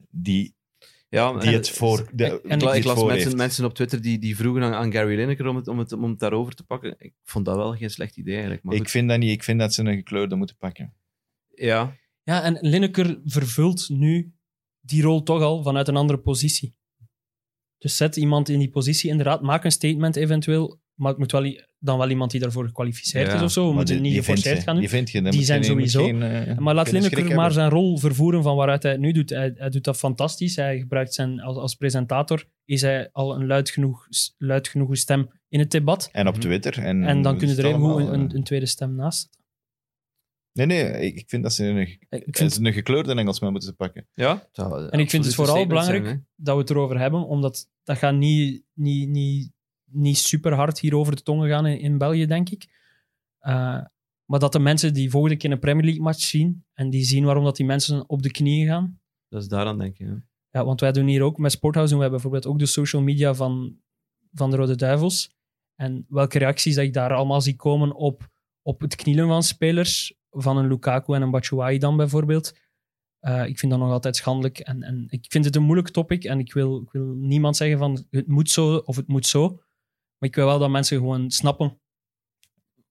C: die,
E: Ja,
C: die
E: en-
C: het voor de
D: en-
C: die
E: En
C: het
E: ik, ik las
C: voor
E: mensen,
C: heeft.
E: mensen op Twitter die, die vroegen aan, aan Gary Lineker om het, om, het, om het daarover te pakken. Ik vond dat wel geen slecht idee eigenlijk. Maar
C: Ik
E: goed,
C: vind dat niet. Ik vind dat ze een gekleurde moeten pakken.
E: ja,
D: Ja, en Lineker vervult nu die rol toch al vanuit een andere positie. Dus zet iemand in die positie, inderdaad, maak een statement eventueel, maar het moet wel, i- dan wel iemand die daarvoor gekwalificeerd
E: Ja,
D: is of zo. We
C: Maar
D: moeten
C: die-
D: niet
C: die vindt
D: geforceerd
C: je.
D: gaan doen.
C: Die vind je. Dan moet
D: Die
C: je
D: zijn
C: geen- moet
D: sowieso.
C: geen, eh,
D: Maar laat
C: geen schrik
D: Lineker maar
C: hebben.
D: zijn rol vervoeren van waaruit hij het nu doet. Hij, hij doet dat fantastisch. Hij gebruikt zijn, als, als presentator is hij al een luid genoeg, luid genoeg stem in het debat.
C: En op Twitter. En,
D: Mhm. En dan kunnen
C: Mm, is
D: er
C: het
D: even goed
C: allemaal,
D: een, een,
C: eh,
D: een tweede stem naast.
C: Nee, nee. Ik, ik vind dat ze een,
D: Ik
C: dat
D: vind
C: ze een gekleurde Engelsman moeten pakken.
E: ja.
D: En ik vind het vooral belangrijk dat we het erover hebben, omdat dat gaat niet, niet, niet, niet super hard hier over de tongen gaan in, in België, denk ik. Eh, maar dat de mensen die volgende keer een Premier League match zien en die zien waarom dat die mensen op de knieën gaan,
E: dat is daaraan denk ik. Ja.
D: Ja, want wij doen hier ook, met Sporthouse doen wij bijvoorbeeld ook de social media van, van de Rode Duivels. En welke reacties dat ik daar allemaal zie komen op, op het knielen van spelers, van een Lukaku en een Batshuayi dan bijvoorbeeld. Eh, ik vind dat nog altijd schandelijk. En, en ik vind het een moeilijk topic en ik wil, ik wil niemand zeggen van het moet zo of het moet zo. Maar ik wil wel dat mensen gewoon snappen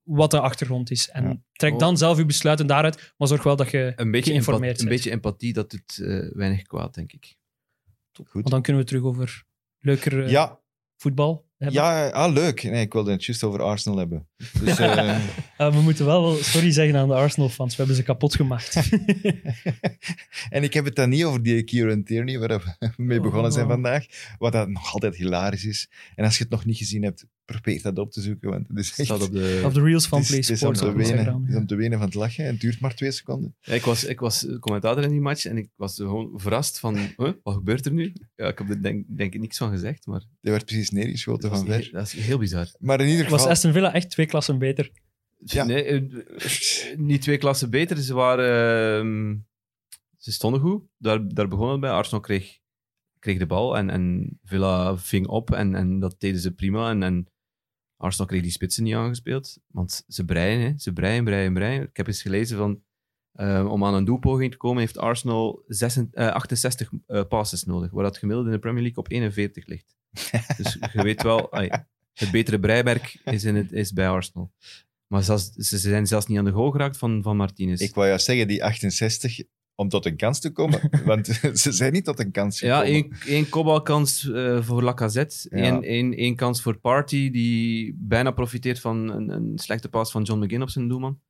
D: wat de achtergrond is. En
C: Ja. Oh.
D: trek dan zelf je besluiten daaruit, maar zorg wel dat je...
E: Een beetje,
D: Geïnformeerd
E: empathie, een
D: zijn.
E: beetje empathie, dat doet eh, weinig kwaad, denk ik.
D: Want dan kunnen we terug over leuker eh,
C: Ja,
D: voetbal hebben.
C: ja ah, leuk. Nee, ik wilde het juist over Arsenal hebben. Dus, eh,
D: Eh, we moeten wel sorry zeggen aan de Arsenal-fans. We hebben ze kapot gemaakt.
C: en ik heb het dan niet over die Kieran Tierney, waar we mee begonnen zijn
D: Oh.
C: vandaag. Wat dat nog altijd hilarisch is. En als je het nog niet gezien hebt, probeer dat op te zoeken. Want het is
E: Het
C: echt...
E: staat op de...
D: Of de reels
C: het
D: van
C: is- het is om
D: PlaySports
C: te
D: op
C: wenen.
D: Instagram.
C: Het is om te wenen van het lachen. Het duurt maar twee seconden.
E: Ja, ik, was, ik was commentator in die match en ik was gewoon verrast van, huh, wat gebeurt er nu? Ja, ik heb er denk, denk ik niks van gezegd, maar
C: Die werd precies neergeschoten
E: dat
C: van
E: is,
C: ver.
E: heel, dat is heel bizar.
C: Maar in ieder
D: Was
C: geval...
D: Aston Villa echt twee klassen beter?
C: Ja.
E: Nee, eh, niet twee klassen beter. Ze, waren, ehm, ze stonden goed. Daar, daar begon het bij. Arsenal kreeg, kreeg de bal en, en Villa ving op. En, en dat deden ze prima. En, en Arsenal kreeg die spitsen niet aangespeeld. Want ze breien, hè. ze breien, breien, breien. Ik heb eens gelezen van... eh, om aan een doelpoging te komen heeft Arsenal 66, eh, 68 eh, passes nodig. Waar dat gemiddeld in de Premier League op 41 ligt. Dus je weet wel... ai, het betere breiwerk is, in het, is bij Arsenal. Maar zelfs, ze ze zijn zelfs niet aan de goal geraakt van, van Martinez.
C: Ik wou juist zeggen, die 68, om tot een kans te komen. want ze zijn niet tot een kans
E: ja,
C: gekomen.
E: één, één kopbalkans eh, voor Lacazette.
C: Ja.
E: Eén, één, één kans voor Party, die bijna profiteert van een, een slechte paas van John McGinn op zijn doelman.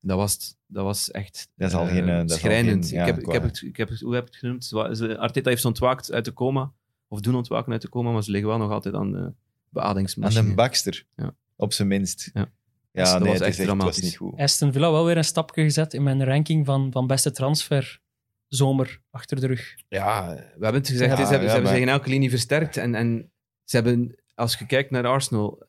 E: Dat was, het. dat was echt
C: Dat is al
E: eh,
C: geen, eh, dat is al
E: schrijnend.
C: geen- ja,
E: ik, heb,
C: qua-
E: ik, heb het, ik heb het- hoe heb ik het genoemd? Ze wa- ze- Arteta heeft ze ontwaakt uit de coma. Of doen ontwaken uit de coma, maar ze liggen wel nog altijd aan de
C: Aan
E: beadingsmachine.
C: een bakster,
E: Ja.
C: op zijn minst.
E: Ja.
C: Ja,
E: Dus dat
C: nee,
E: was
C: het
E: echt
C: is echt, het was
E: dramatisch.
C: niet goed.
D: Aston Villa wel weer een stapje gezet in mijn ranking van, van beste transfer. zomer achter de rug.
E: Ja, we hebben het gezegd.
C: Ja,
E: hè, ze hebben,
C: ja,
E: ze hebben
C: maar-
E: zich in elke linie versterkt. En, en ze hebben, als je kijkt naar Arsenal,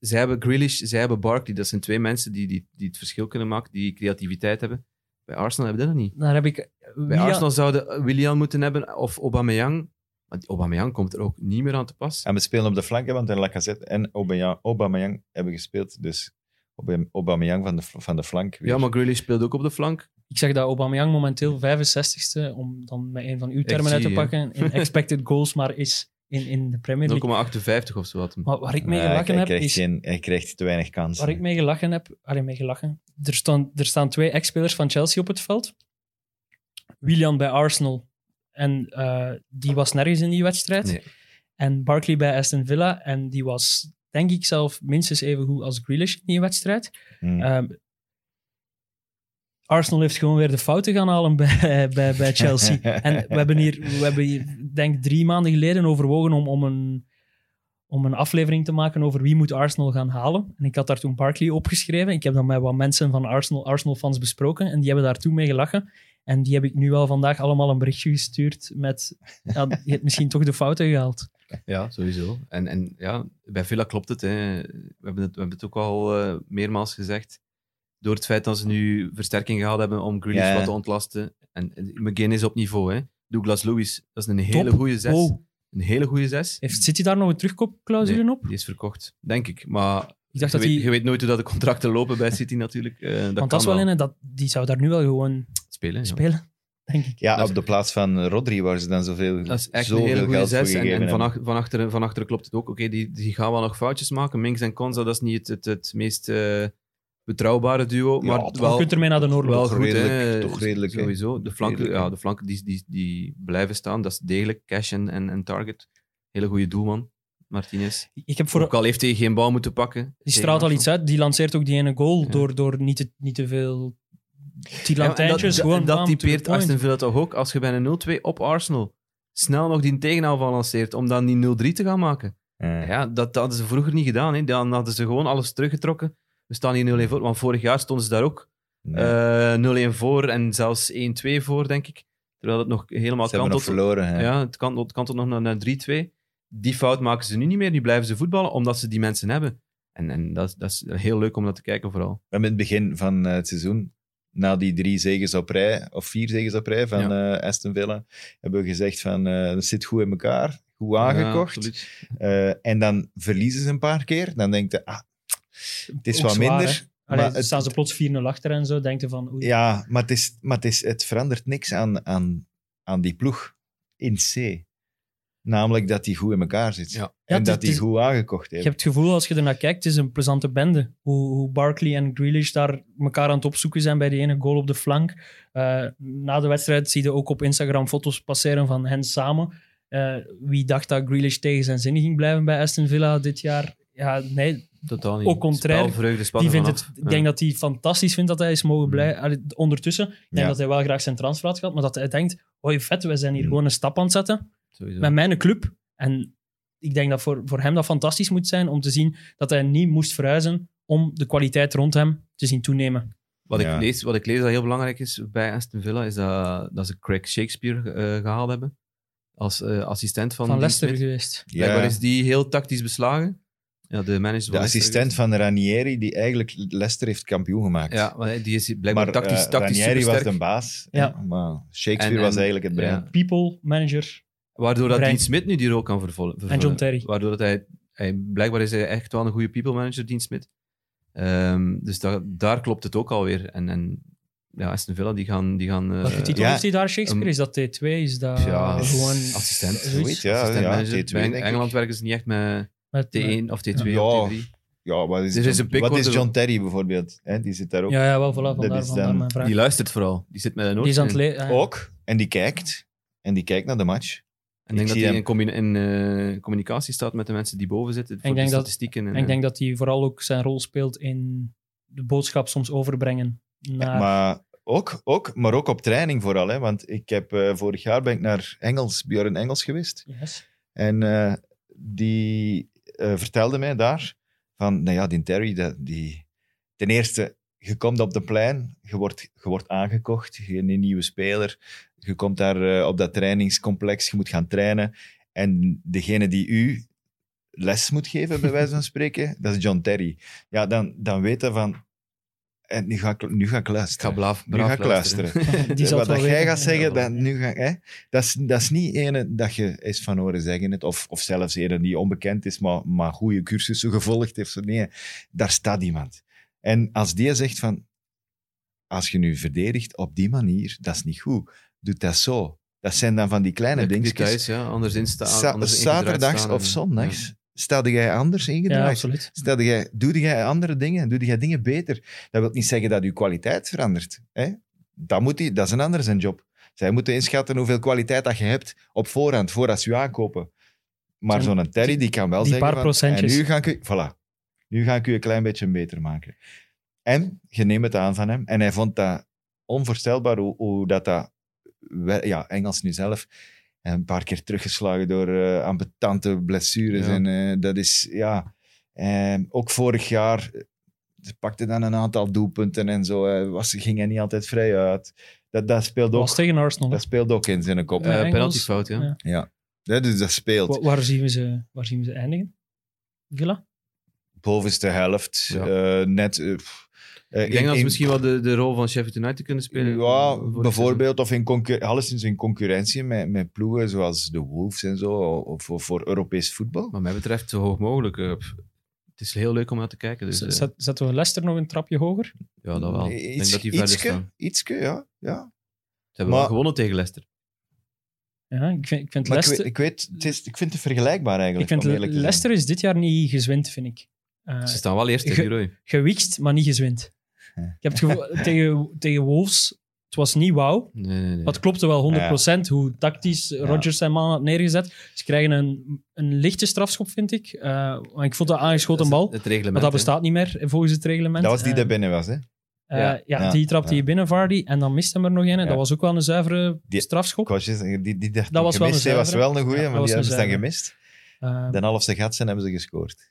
E: ze hebben Grealish, ze hebben Barkley. Dat zijn twee mensen die, die, die het verschil kunnen maken, die creativiteit hebben. Bij Arsenal hebben we dat nog niet.
D: Daar heb ik...
E: Bij
D: Wie-
E: Arsenal zouden William moeten hebben of Aubameyang. Want Aubameyang komt er ook niet meer aan te pas.
C: En we spelen op de flanken, want en Lacazette en Aubameyang, Aubameyang hebben gespeeld. Dus Aubame- Aubameyang van de, fl- van de flank. weer.
E: Ja, maar Grealish speelt ook op de flank.
D: Ik zeg dat Aubameyang momenteel 65ste, om dan met een van uw termen
E: zie
D: uit te
E: je.
D: pakken, in expected goals maar is in, in de Premier League.
E: 0,58 of zo had hem.
D: Maar waar ik mee
C: Ja,
D: gelachen
C: hij,
D: heb,
C: krijgt
D: is...
C: geen, hij krijgt te weinig kansen.
D: Waar ik mee gelachen heb... Allee, mee gelachen. Er staan, er staan twee ex-spelers van Chelsea op het veld. Willian bij Arsenal. En eh, die was nergens in die wedstrijd.
E: Nee.
D: En Barkley bij Aston Villa. En die was, denk ik zelf, minstens even goed als Grealish in die wedstrijd.
C: Hmm.
E: Hm. Eh,
D: Ehm, Arsenal heeft gewoon weer de fouten gaan halen bij, bij, bij Chelsea. en we hebben hier, we hebben hier, denk drie maanden geleden overwogen om, om, een, om een aflevering te maken over wie moet Arsenal gaan halen. En ik had daar toen Barkley opgeschreven. Ik heb dat met wat mensen van Arsenal, Arsenal-fans besproken. En die hebben daar toen mee gelachen. En die heb ik nu wel vandaag allemaal een berichtje gestuurd met... Ja, je hebt misschien toch de fouten gehaald.
E: Ja, sowieso. En, en ja, bij Villa klopt het. Hè. We, hebben het. we hebben het ook al eh, meermaals gezegd. Door het feit dat ze nu versterking gehaald hebben om Grealish
C: Ja.
E: wat te ontlasten. En, en McGinn is op niveau. Hè. Douglas Lewis, dat is een hele
D: Top.
E: goede zes.
D: Wow.
E: Een hele goede zes.
D: Oh, Heeft City daar nog een terugkoopclausule
E: Nee.
D: op?
E: Die is verkocht, denk ik. Maar
D: Ik dacht
E: je,
D: dat
E: weet,
D: die...
E: je weet nooit hoe dat de contracten lopen bij City natuurlijk. Eh, dat
D: want
E: kan
D: dat is wel in, dat, die zou daar nu wel gewoon
E: spelen. ja.
D: spelen, denk ik.
C: ja,
E: dat is-
C: op de plaats van Rodri, waar ze dan zoveel,
E: Dat is echt een hele
C: zoveel
E: goede
C: geld voor
E: zes. En,
C: gegeven
E: en van,
C: hebben.
E: ach- van, achteren, van achteren klopt het ook. Oké, die, die gaan wel nog foutjes maken. Minks en Konza, dat is niet het, het, het meest eh, betrouwbare duo.
C: Ja,
E: Maar
C: toch
D: Je
E: wel,
D: kunt ermee naar de Noorlog.
E: wel
C: Toch
E: goed, hè.
C: redelijk- toch redelijk, hè.
E: Sowieso. De flanken,
C: Redelijk, hè.
E: ja, de flanken die, die, die blijven staan. Dat is degelijk. Cash en, en, en target. Hele goede doelman, Martinez.
D: Ik heb
E: ook
D: voor,
E: al heeft hij geen bal moeten pakken.
D: die straalt al iets uit. Die lanceert ook die ene goal
E: Ja.
D: door, door niet, te, niet te veel
E: dat,
D: tilantijntjes. gewoon
E: en dat
D: bam, to the
E: typeert
D: point.
E: Aston Villa toch ook. Als je bij een 0-2 op Arsenal snel nog die tegenaanval lanceert om dan die 0-3 te gaan maken.
C: Ja.
E: Ja, dat, dat hadden ze vroeger niet gedaan. Hè. Dan hadden ze gewoon alles teruggetrokken. We staan hier 0-1 voor, want vorig jaar stonden ze daar ook
C: Nee.
E: eh 0-1 voor en zelfs 1-2 voor, denk ik. Terwijl het nog helemaal
C: ze hebben
E: kantelt.
C: nog verloren. hè.
E: Ja, het kantelt, het kantelt nog naar, naar 3-2. Die fout maken ze nu niet meer. Nu blijven ze voetballen omdat ze die mensen hebben. En, en dat, is- dat is heel leuk om dat te kijken, vooral.
C: We hebben in het begin van eh, het seizoen, na die drie zegens op rij, of vier zegens op rij van eh, Aston Villa, hebben we gezegd van, eh dat zit goed in elkaar, goed
E: Ja,
C: aangekocht.
E: absoluut.
C: Eh, en dan verliezen ze een paar keer. Dan denk je, ah, het is
D: Ook
C: wat
D: zwaar,
C: minder.
D: hè. Allee,
C: maar het-
D: staan ze plots 4-0 achter en zo. Denken van, oei.
C: Ja, maar, het, is, maar het, is, het verandert niks aan, aan, aan die ploeg in C. Namelijk dat die goed in elkaar zit.
E: Ja.
D: Ja,
C: En
D: het
C: dat
D: is-
C: die
D: het is-
C: goed aangekocht
D: Je
C: heeft.
D: hebt het gevoel, als je ernaar kijkt, het is een plezante bende. Hoe, hoe Barkley en Grealish daar elkaar aan het opzoeken zijn bij die ene goal op de flank. Eh, na de wedstrijd zie je ook op Instagram foto's passeren van hen samen. Eh, wie dacht dat Grealish tegen zijn zin ging blijven bij Aston Villa dit jaar? Ja, nee,
E: Totaal niet.
D: Ook contrair.
E: Spelvreugde, spat
D: Die
E: ervan
D: vindt het,
E: af.
D: ik denk dat hij fantastisch vindt dat hij is mogen blijven. Allee, Ondertussen, ik denk
C: Ja.
D: dat hij wel graag zijn transfer had gehad, maar dat hij denkt, hoi vet, wij zijn hier
C: Mm.
D: gewoon een stap aan het zetten
E: Ja, sowieso.
D: met mijn club. En ik denk dat voor, voor hem dat fantastisch moet zijn om te zien dat hij niet moest verhuizen om de kwaliteit rond hem te zien toenemen.
E: Wat,
C: Ja.
E: ik lees, wat ik lees dat heel belangrijk is bij Aston Villa, is dat, dat ze Craig Shakespeare eh, gehaald hebben. Als eh, assistent van,
D: Van
E: Dean
D: Leicester
E: Smith.
D: geweest.
C: Ja.
E: Blijkbaar is die heel tactisch beslagen. Ja, de manager
C: De
E: van Leicester
C: assistent
E: geweest.
C: van Ranieri, die eigenlijk Leicester heeft kampioen gemaakt.
E: Ja, maar die is blijkbaar tactisch,
C: eh,
E: tactisch
C: Ranieri was
E: supersterk.
C: de baas.
D: Ja.
C: Maar Shakespeare
E: En- en-
C: was eigenlijk het brein.
E: ja.
D: People, manager.
E: Waardoor dat
D: brein.
E: Dean Smit nu die rol kan vervol- vervullen.
D: John Terry.
C: Eh,
E: Waardoor dat hij, hij... Blijkbaar is hij echt wel een goede people manager, Dean Smit. Ehm, dus da- daar klopt het ook alweer. En, en ja, Aston Villa, die gaan... Die gaan eh,
D: Welke titel
C: ja. Ehm,
D: heeft hij daar? Shakespeare?
E: Een-
D: Is dat T2? Is dat
E: Ja,
D: Eh, gewoon...
E: assistent.
D: Zoiets.
C: Ja,
E: assistent
C: ja,
E: manager.
C: T2
E: Bij
C: denk ik.
E: Engeland werken ze niet echt met
D: Met-
E: T1 of T2
C: Ja.
E: of T3.
C: Ja, wat is,
E: Er Dus is een
C: John,
E: pick
C: wat is
E: worden-
C: John Terry bijvoorbeeld? Hè? Die zit daar ook.
D: Ja, ja, wel, voilà,
C: Dat
D: vandaar,
C: is
D: vandaar
C: dan-
D: mijn vraag.
E: Die luistert vooral. Die zit met een
D: Die is aan het
E: oortje in.
D: le- ah, ja.
C: Ook. En die kijkt. En die kijkt naar de match.
E: En ik denk
C: Ik
E: dat
C: zie
E: hij
C: hem.
E: in, combina- in eh, communicatie staat met de mensen die boven zitten. Voor
D: ik
E: de
D: denk dat-
E: statistieken. en,
D: En ik
E: eh,
D: denk dat hij vooral ook zijn rol speelt in de boodschap soms overbrengen naar...
C: Maar ook, ook, maar ook op training vooral. Hè? Want ik heb, eh, vorig jaar ben ik naar Engels, Björn Engels geweest.
D: Yes.
C: En eh, die eh, vertelde mij daar van, nou ja, die Terry, dat- die, ten eerste, je komt op de plein, je wordt, je wordt aangekocht, je bent een nieuwe speler, Je komt daar eh, op dat trainingscomplex, je moet gaan trainen. En degene die u les moet geven, bij wijze van spreken, dat is John Terry. Ja, dan, dan weet hij van... En nu ga ik, nu ga ik
E: Ik ga
C: luisteren.
E: blaaf,
C: nu ga
E: braaf
C: ik luisteren.
D: Die zal
C: Eh, wat
D: het wel
C: dat jij
D: weten.
C: gaat zeggen,
D: Ja.
C: dat, nu ga, hè? Dat, is, dat is niet ene dat je eens van horen zeggen het, of, of zelfs ene die onbekend is, maar, maar goede cursussen gevolgd heeft. Nee, daar staat iemand. En als die zegt van, als je nu verdedigt op die manier, dat is niet goed, doe dat zo. Dat zijn dan van die kleine
E: Ja,
C: dingetjes.
E: details, ja, anders instaan.
C: Za- zaterdags of zondags stelde jij anders
D: Ja,
C: ingedraaid.
D: absoluut.
C: Stel jij, doe jij andere dingen, doe jij dingen beter. Dat wil niet zeggen dat je kwaliteit verandert. Hè? Dat, moet die, dat is een ander zijn job. Zij moeten inschatten hoeveel kwaliteit dat je hebt op voorhand, voordat ze je aankopen. Maar
D: En
C: zo'n Terry die kan wel
D: die
C: zeggen
D: paar
C: van,
D: procentjes.
C: En nu ga, ik, u- voilà, nu ga ik u een klein beetje beter maken. En je neemt het aan van hem. En hij vond dat onvoorstelbaar hoe, hoe dat, dat wel- ja, Engels nu zelf, eh, een paar keer teruggeslagen door eh ambetante blessures.
E: Ja.
C: En eh, dat is, ja... Eh, ook vorig jaar eh, ze pakte dan een aantal doelpunten en zo. eh, was, ging hij niet altijd vrij uit. Dat, dat, speelde,
D: Dat
C: ook,
D: was tegen Arsenal. hè?
C: dat speelde ook in zijn kop.
D: Ja.
E: Uh,
D: Engels.
E: penaltyfout, ja.
D: Ja.
C: Ja, dus dat speelt.
D: Wa- waar, zien we ze, waar zien we ze eindigen? Villa?
C: Bovenste helft.
E: Ja.
C: eh, net... eh, pff, eh,
E: Ik
C: in-
E: denk dat
C: in-
E: ze misschien wel de, de rol van Sheffield United kunnen spelen.
C: Ja,
E: Voor-
C: ah, bijvoorbeeld, of in concur- alleszins in concurrentie met, met ploegen zoals de Wolves en zo, of voor, voor Europees voetbal.
E: Wat mij betreft zo hoog mogelijk. eh, pff. het is heel leuk om naar te kijken. Dus,
D: Z-
E: eh,
D: zet- Zetten we Leicester nog een trapje hoger?
E: ja, dat wel. ik
C: Iets-
E: denk dat die verder
C: ietske-
E: staan.
C: Ietske, ja. ja.
E: Ze hebben
C: Maar-
E: wel gewonnen tegen Leicester.
D: Ja, ik vind, ik vind
C: Maar ik,
D: Leicester...
C: weet, ik, weet, het is, ik vind het eh, vergelijkbaar
D: Ik
C: eigenlijk.
D: vind
C: om eerlijk te zijn.
D: Leicester is dit jaar niet gezwind, vind ik. Eh,
E: Ze staan wel eerst in
D: ge-
E: die rooi.
D: gewikst, maar niet gezwind. Ik heb het gevoel, tegen, tegen Wolves, het was niet wauw.
E: Nee, nee, nee.
D: Maar het klopte wel 100% hoe tactisch Rodgers zijn man had neergezet. Ze krijgen een, een lichte strafschop, vind ik. Eh, want ik vond dat aangeschoten
E: Dat is
D: bal,
E: Het reglement.
D: maar dat
E: hè.
D: bestaat niet meer eh, volgens het reglement.
C: Dat was die
D: Eh,
C: daar binnen was, hè?
D: eh,
E: Ja.
D: ja,
C: Ja.
D: die trapte
C: Ja.
D: hier binnen, Vardy. En dan miste hem er nog een. en
C: Ja.
D: Dat was ook wel een zuivere
C: Die-
D: strafschop.
C: Kostjes, die, die dacht
D: Dat was wel
C: gemist,
D: een
C: hè, was
D: zuivere.
C: wel een goeie,
D: Ja, dat
C: maar
D: was
C: die
D: een
C: hebben ze dan
D: zuivere.
C: gemist.
D: Eh,
C: Dan half ze gat zijn, hebben ze gescoord.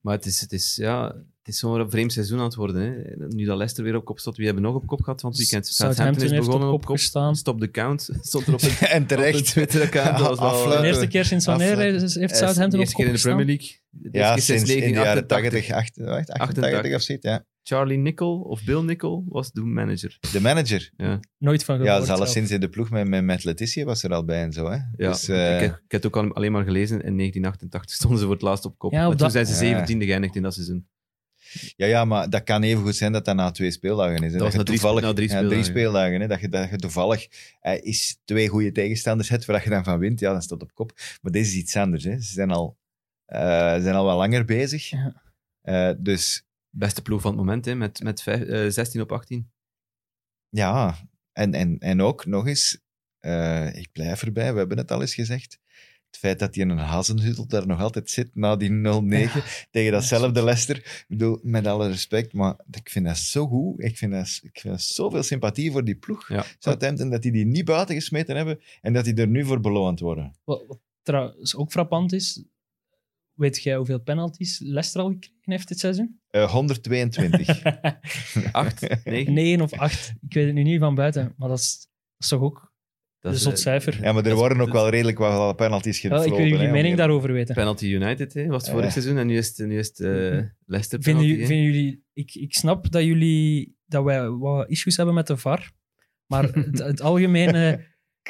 E: Maar het is, het is, ja, het is zo'n vreemd seizoen aan het worden. Hè. Nu dat Leicester weer op kop staat. Wie hebben nog op kop gehad van het weekend?
D: Southampton
E: Southampton is
D: heeft op
E: begonnen
D: kop gestaan.
E: Stop the count. Stond er op een
C: en
E: op een
C: terecht.
E: Twitter-account. Dat was wel-
C: Afluiten.
D: de eerste keer sinds wanneer
C: Afsluiten.
D: heeft heeft
E: eh, De
D: Southampton op
E: eerste
D: kop
E: keer in de
D: gestaan?
E: Premier League. De eerste
C: Ja,
E: keer
C: sinds in de jaren
E: 1988.
C: 80, 88, 88 of zoiets, ja.
E: Charlie Nickel of Bill Nickel was de manager.
C: De manager.
D: Nooit van gehoord.
C: Ja, zelfs
D: zelf.
C: sinds in de ploeg met, met, met Letitia was er al bij en zo, hè.
E: Ja,
C: dus, eh,
E: ik, heb, ik heb het ook al- alleen maar gelezen. In 1988 stonden ze voor het laatst op kop.
D: Ja, op
E: Maar toen
D: dat-
E: zijn ze
C: Ja.
E: zeventiende geëindigd in dat seizoen.
C: ja, ja, maar dat kan even goed zijn dat dat na twee speeldagen is.
E: Dat
C: Hè. Dat,
E: was
C: je
E: na drie-
C: toevallig,
E: na drie
C: Ja, drie
E: speeldagen.
C: speeldagen hè. Dat, je, dat je toevallig eh, is twee goede tegenstanders hebt, waar je dan van wint, ja, dan staat op kop. Maar deze is iets anders, hè. Ze zijn al, eh, ze zijn al wat langer bezig.
D: Ja.
C: Eh, dus
E: Beste ploeg van het moment, hè, met, met vijf- eh, 16 op 18.
C: Ja, en, en, en ook nog eens, eh, ik blijf erbij, we hebben het al eens gezegd. Het feit dat hij in een hazenhutel daar nog altijd zit na die 0-9 tegen datzelfde Leicester. Ik bedoel, met alle respect, maar ik vind dat zo goed. Ik vind dat, ik vind dat zoveel sympathie voor die ploeg.
E: Ja.
C: Southampton, dat die die niet buiten gesmeten hebben en dat die er nu voor beloond worden.
D: Wat, wat trouwens ook frappant is, weet jij hoeveel penalties Leicester al gekregen heeft dit seizoen?
C: Eh, 122.
E: 8, 9.
D: 9 of 8. Ik weet het nu niet van buiten, maar dat is, dat is toch ook een zot cijfer.
C: ja, maar er
E: is-
C: worden ook
E: eh, dat
C: wel redelijk wat penalties
D: Wel,
C: gefloten.
D: ik wil jullie
C: hè,
D: mening
C: om-
D: daarover weten.
E: Penalty United hè, was het vorig
C: Eh.
E: seizoen en nu is het, nu is het eh,
C: Mhm.
E: Leicester
D: Vinden,
E: penalty,
D: jullie-
E: hè.
D: vinden jullie, ik, ik snap dat jullie dat wij wat issues hebben met de VAR, maar het, het algemene,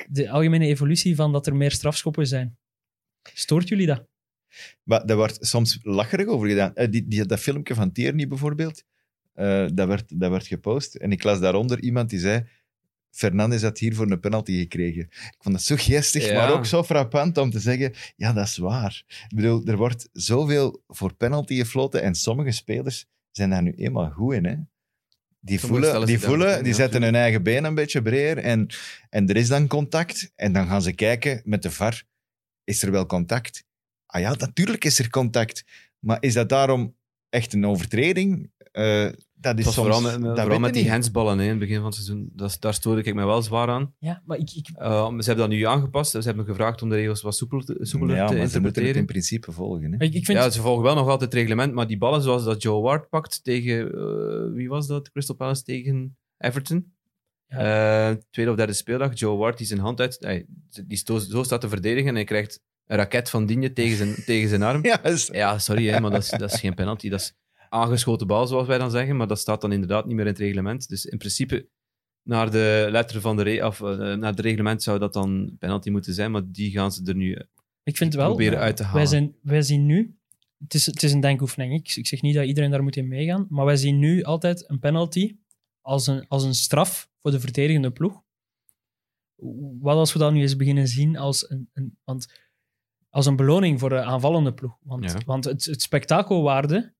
D: de algemene evolutie van dat er meer strafschoppen zijn, stoort jullie dat?
C: Maar daar wordt soms lacherig over gedaan. Eh, die, die, dat filmpje van Tierney bijvoorbeeld, eh, dat, werd, dat werd gepost. En ik las daaronder iemand die zei... Fernandes had hier voor een penalty gekregen. Ik vond dat zo geestig,
E: Ja.
C: maar ook zo frappant om te zeggen... Ja, dat is waar. Ik bedoel, er wordt zoveel voor penalty gefloten en sommige spelers zijn daar nu eenmaal goed in, hè.
E: Sommigen
C: Die voelen,
E: stellen
C: die,
E: zich daar goed
C: voelen,
E: in,
C: die
E: ja,
C: zetten
E: tuurlijk.
C: hun eigen been een beetje breder en, en er is dan contact. En dan gaan ze kijken met de VAR, is er wel contact? Ah ja, natuurlijk is er contact. Maar is dat daarom echt een overtreding? Eh, dat is
E: Het was
C: soms,
E: vooral met, met-
C: dat
E: vooral
C: weet
E: met
C: je
E: die
C: niet.
E: handsballen hè, in het begin van het seizoen. Dat, is- daar stoorde ik me wel zwaar aan.
D: Ja, maar ik, ik,
E: Eh, ze hebben dat nu aangepast. Ze hebben gevraagd om de regels wat soepeler te, soepeler
C: Ja,
E: te
C: maar ze moeten het
E: interpreteren.
C: in principe volgen. Hè?
D: ik vind
E: Ja, ze volgen wel nog altijd het reglement, maar die ballen zoals dat Joe Ward pakt tegen, eh, wie was dat, Crystal Palace tegen Everton, Eh, tweede of derde speeldag, Joe Ward die zijn hand uit. hij- die sto- zo staat te verdedigen en hij krijgt een raket van Digne tegen zijn, tegen zijn arm.
C: Ja, dus- is-
E: Ja, sorry, hè, maar dat is, dat is geen penalty. Dat is aangeschoten bal, zoals wij dan zeggen. Maar dat staat dan inderdaad niet meer in het reglement. Dus in principe, naar de letter van de, re- of, eh, naar het reglement zou dat dan penalty moeten zijn. Maar die gaan ze er nu eh,
D: Ik vind wel,
E: proberen uit te halen.
D: wij, zijn, wij zien nu, het is, het is een denkoefening, ik, ik zeg niet dat iedereen daar moet in meegaan, maar wij zien nu altijd een penalty als een, als een straf voor de verdedigende ploeg. Wat als we dat nu eens beginnen zien als een, een, want, als een beloning voor de aanvallende ploeg? Want,
E: Ja.
D: want het, het spektakelwaarde,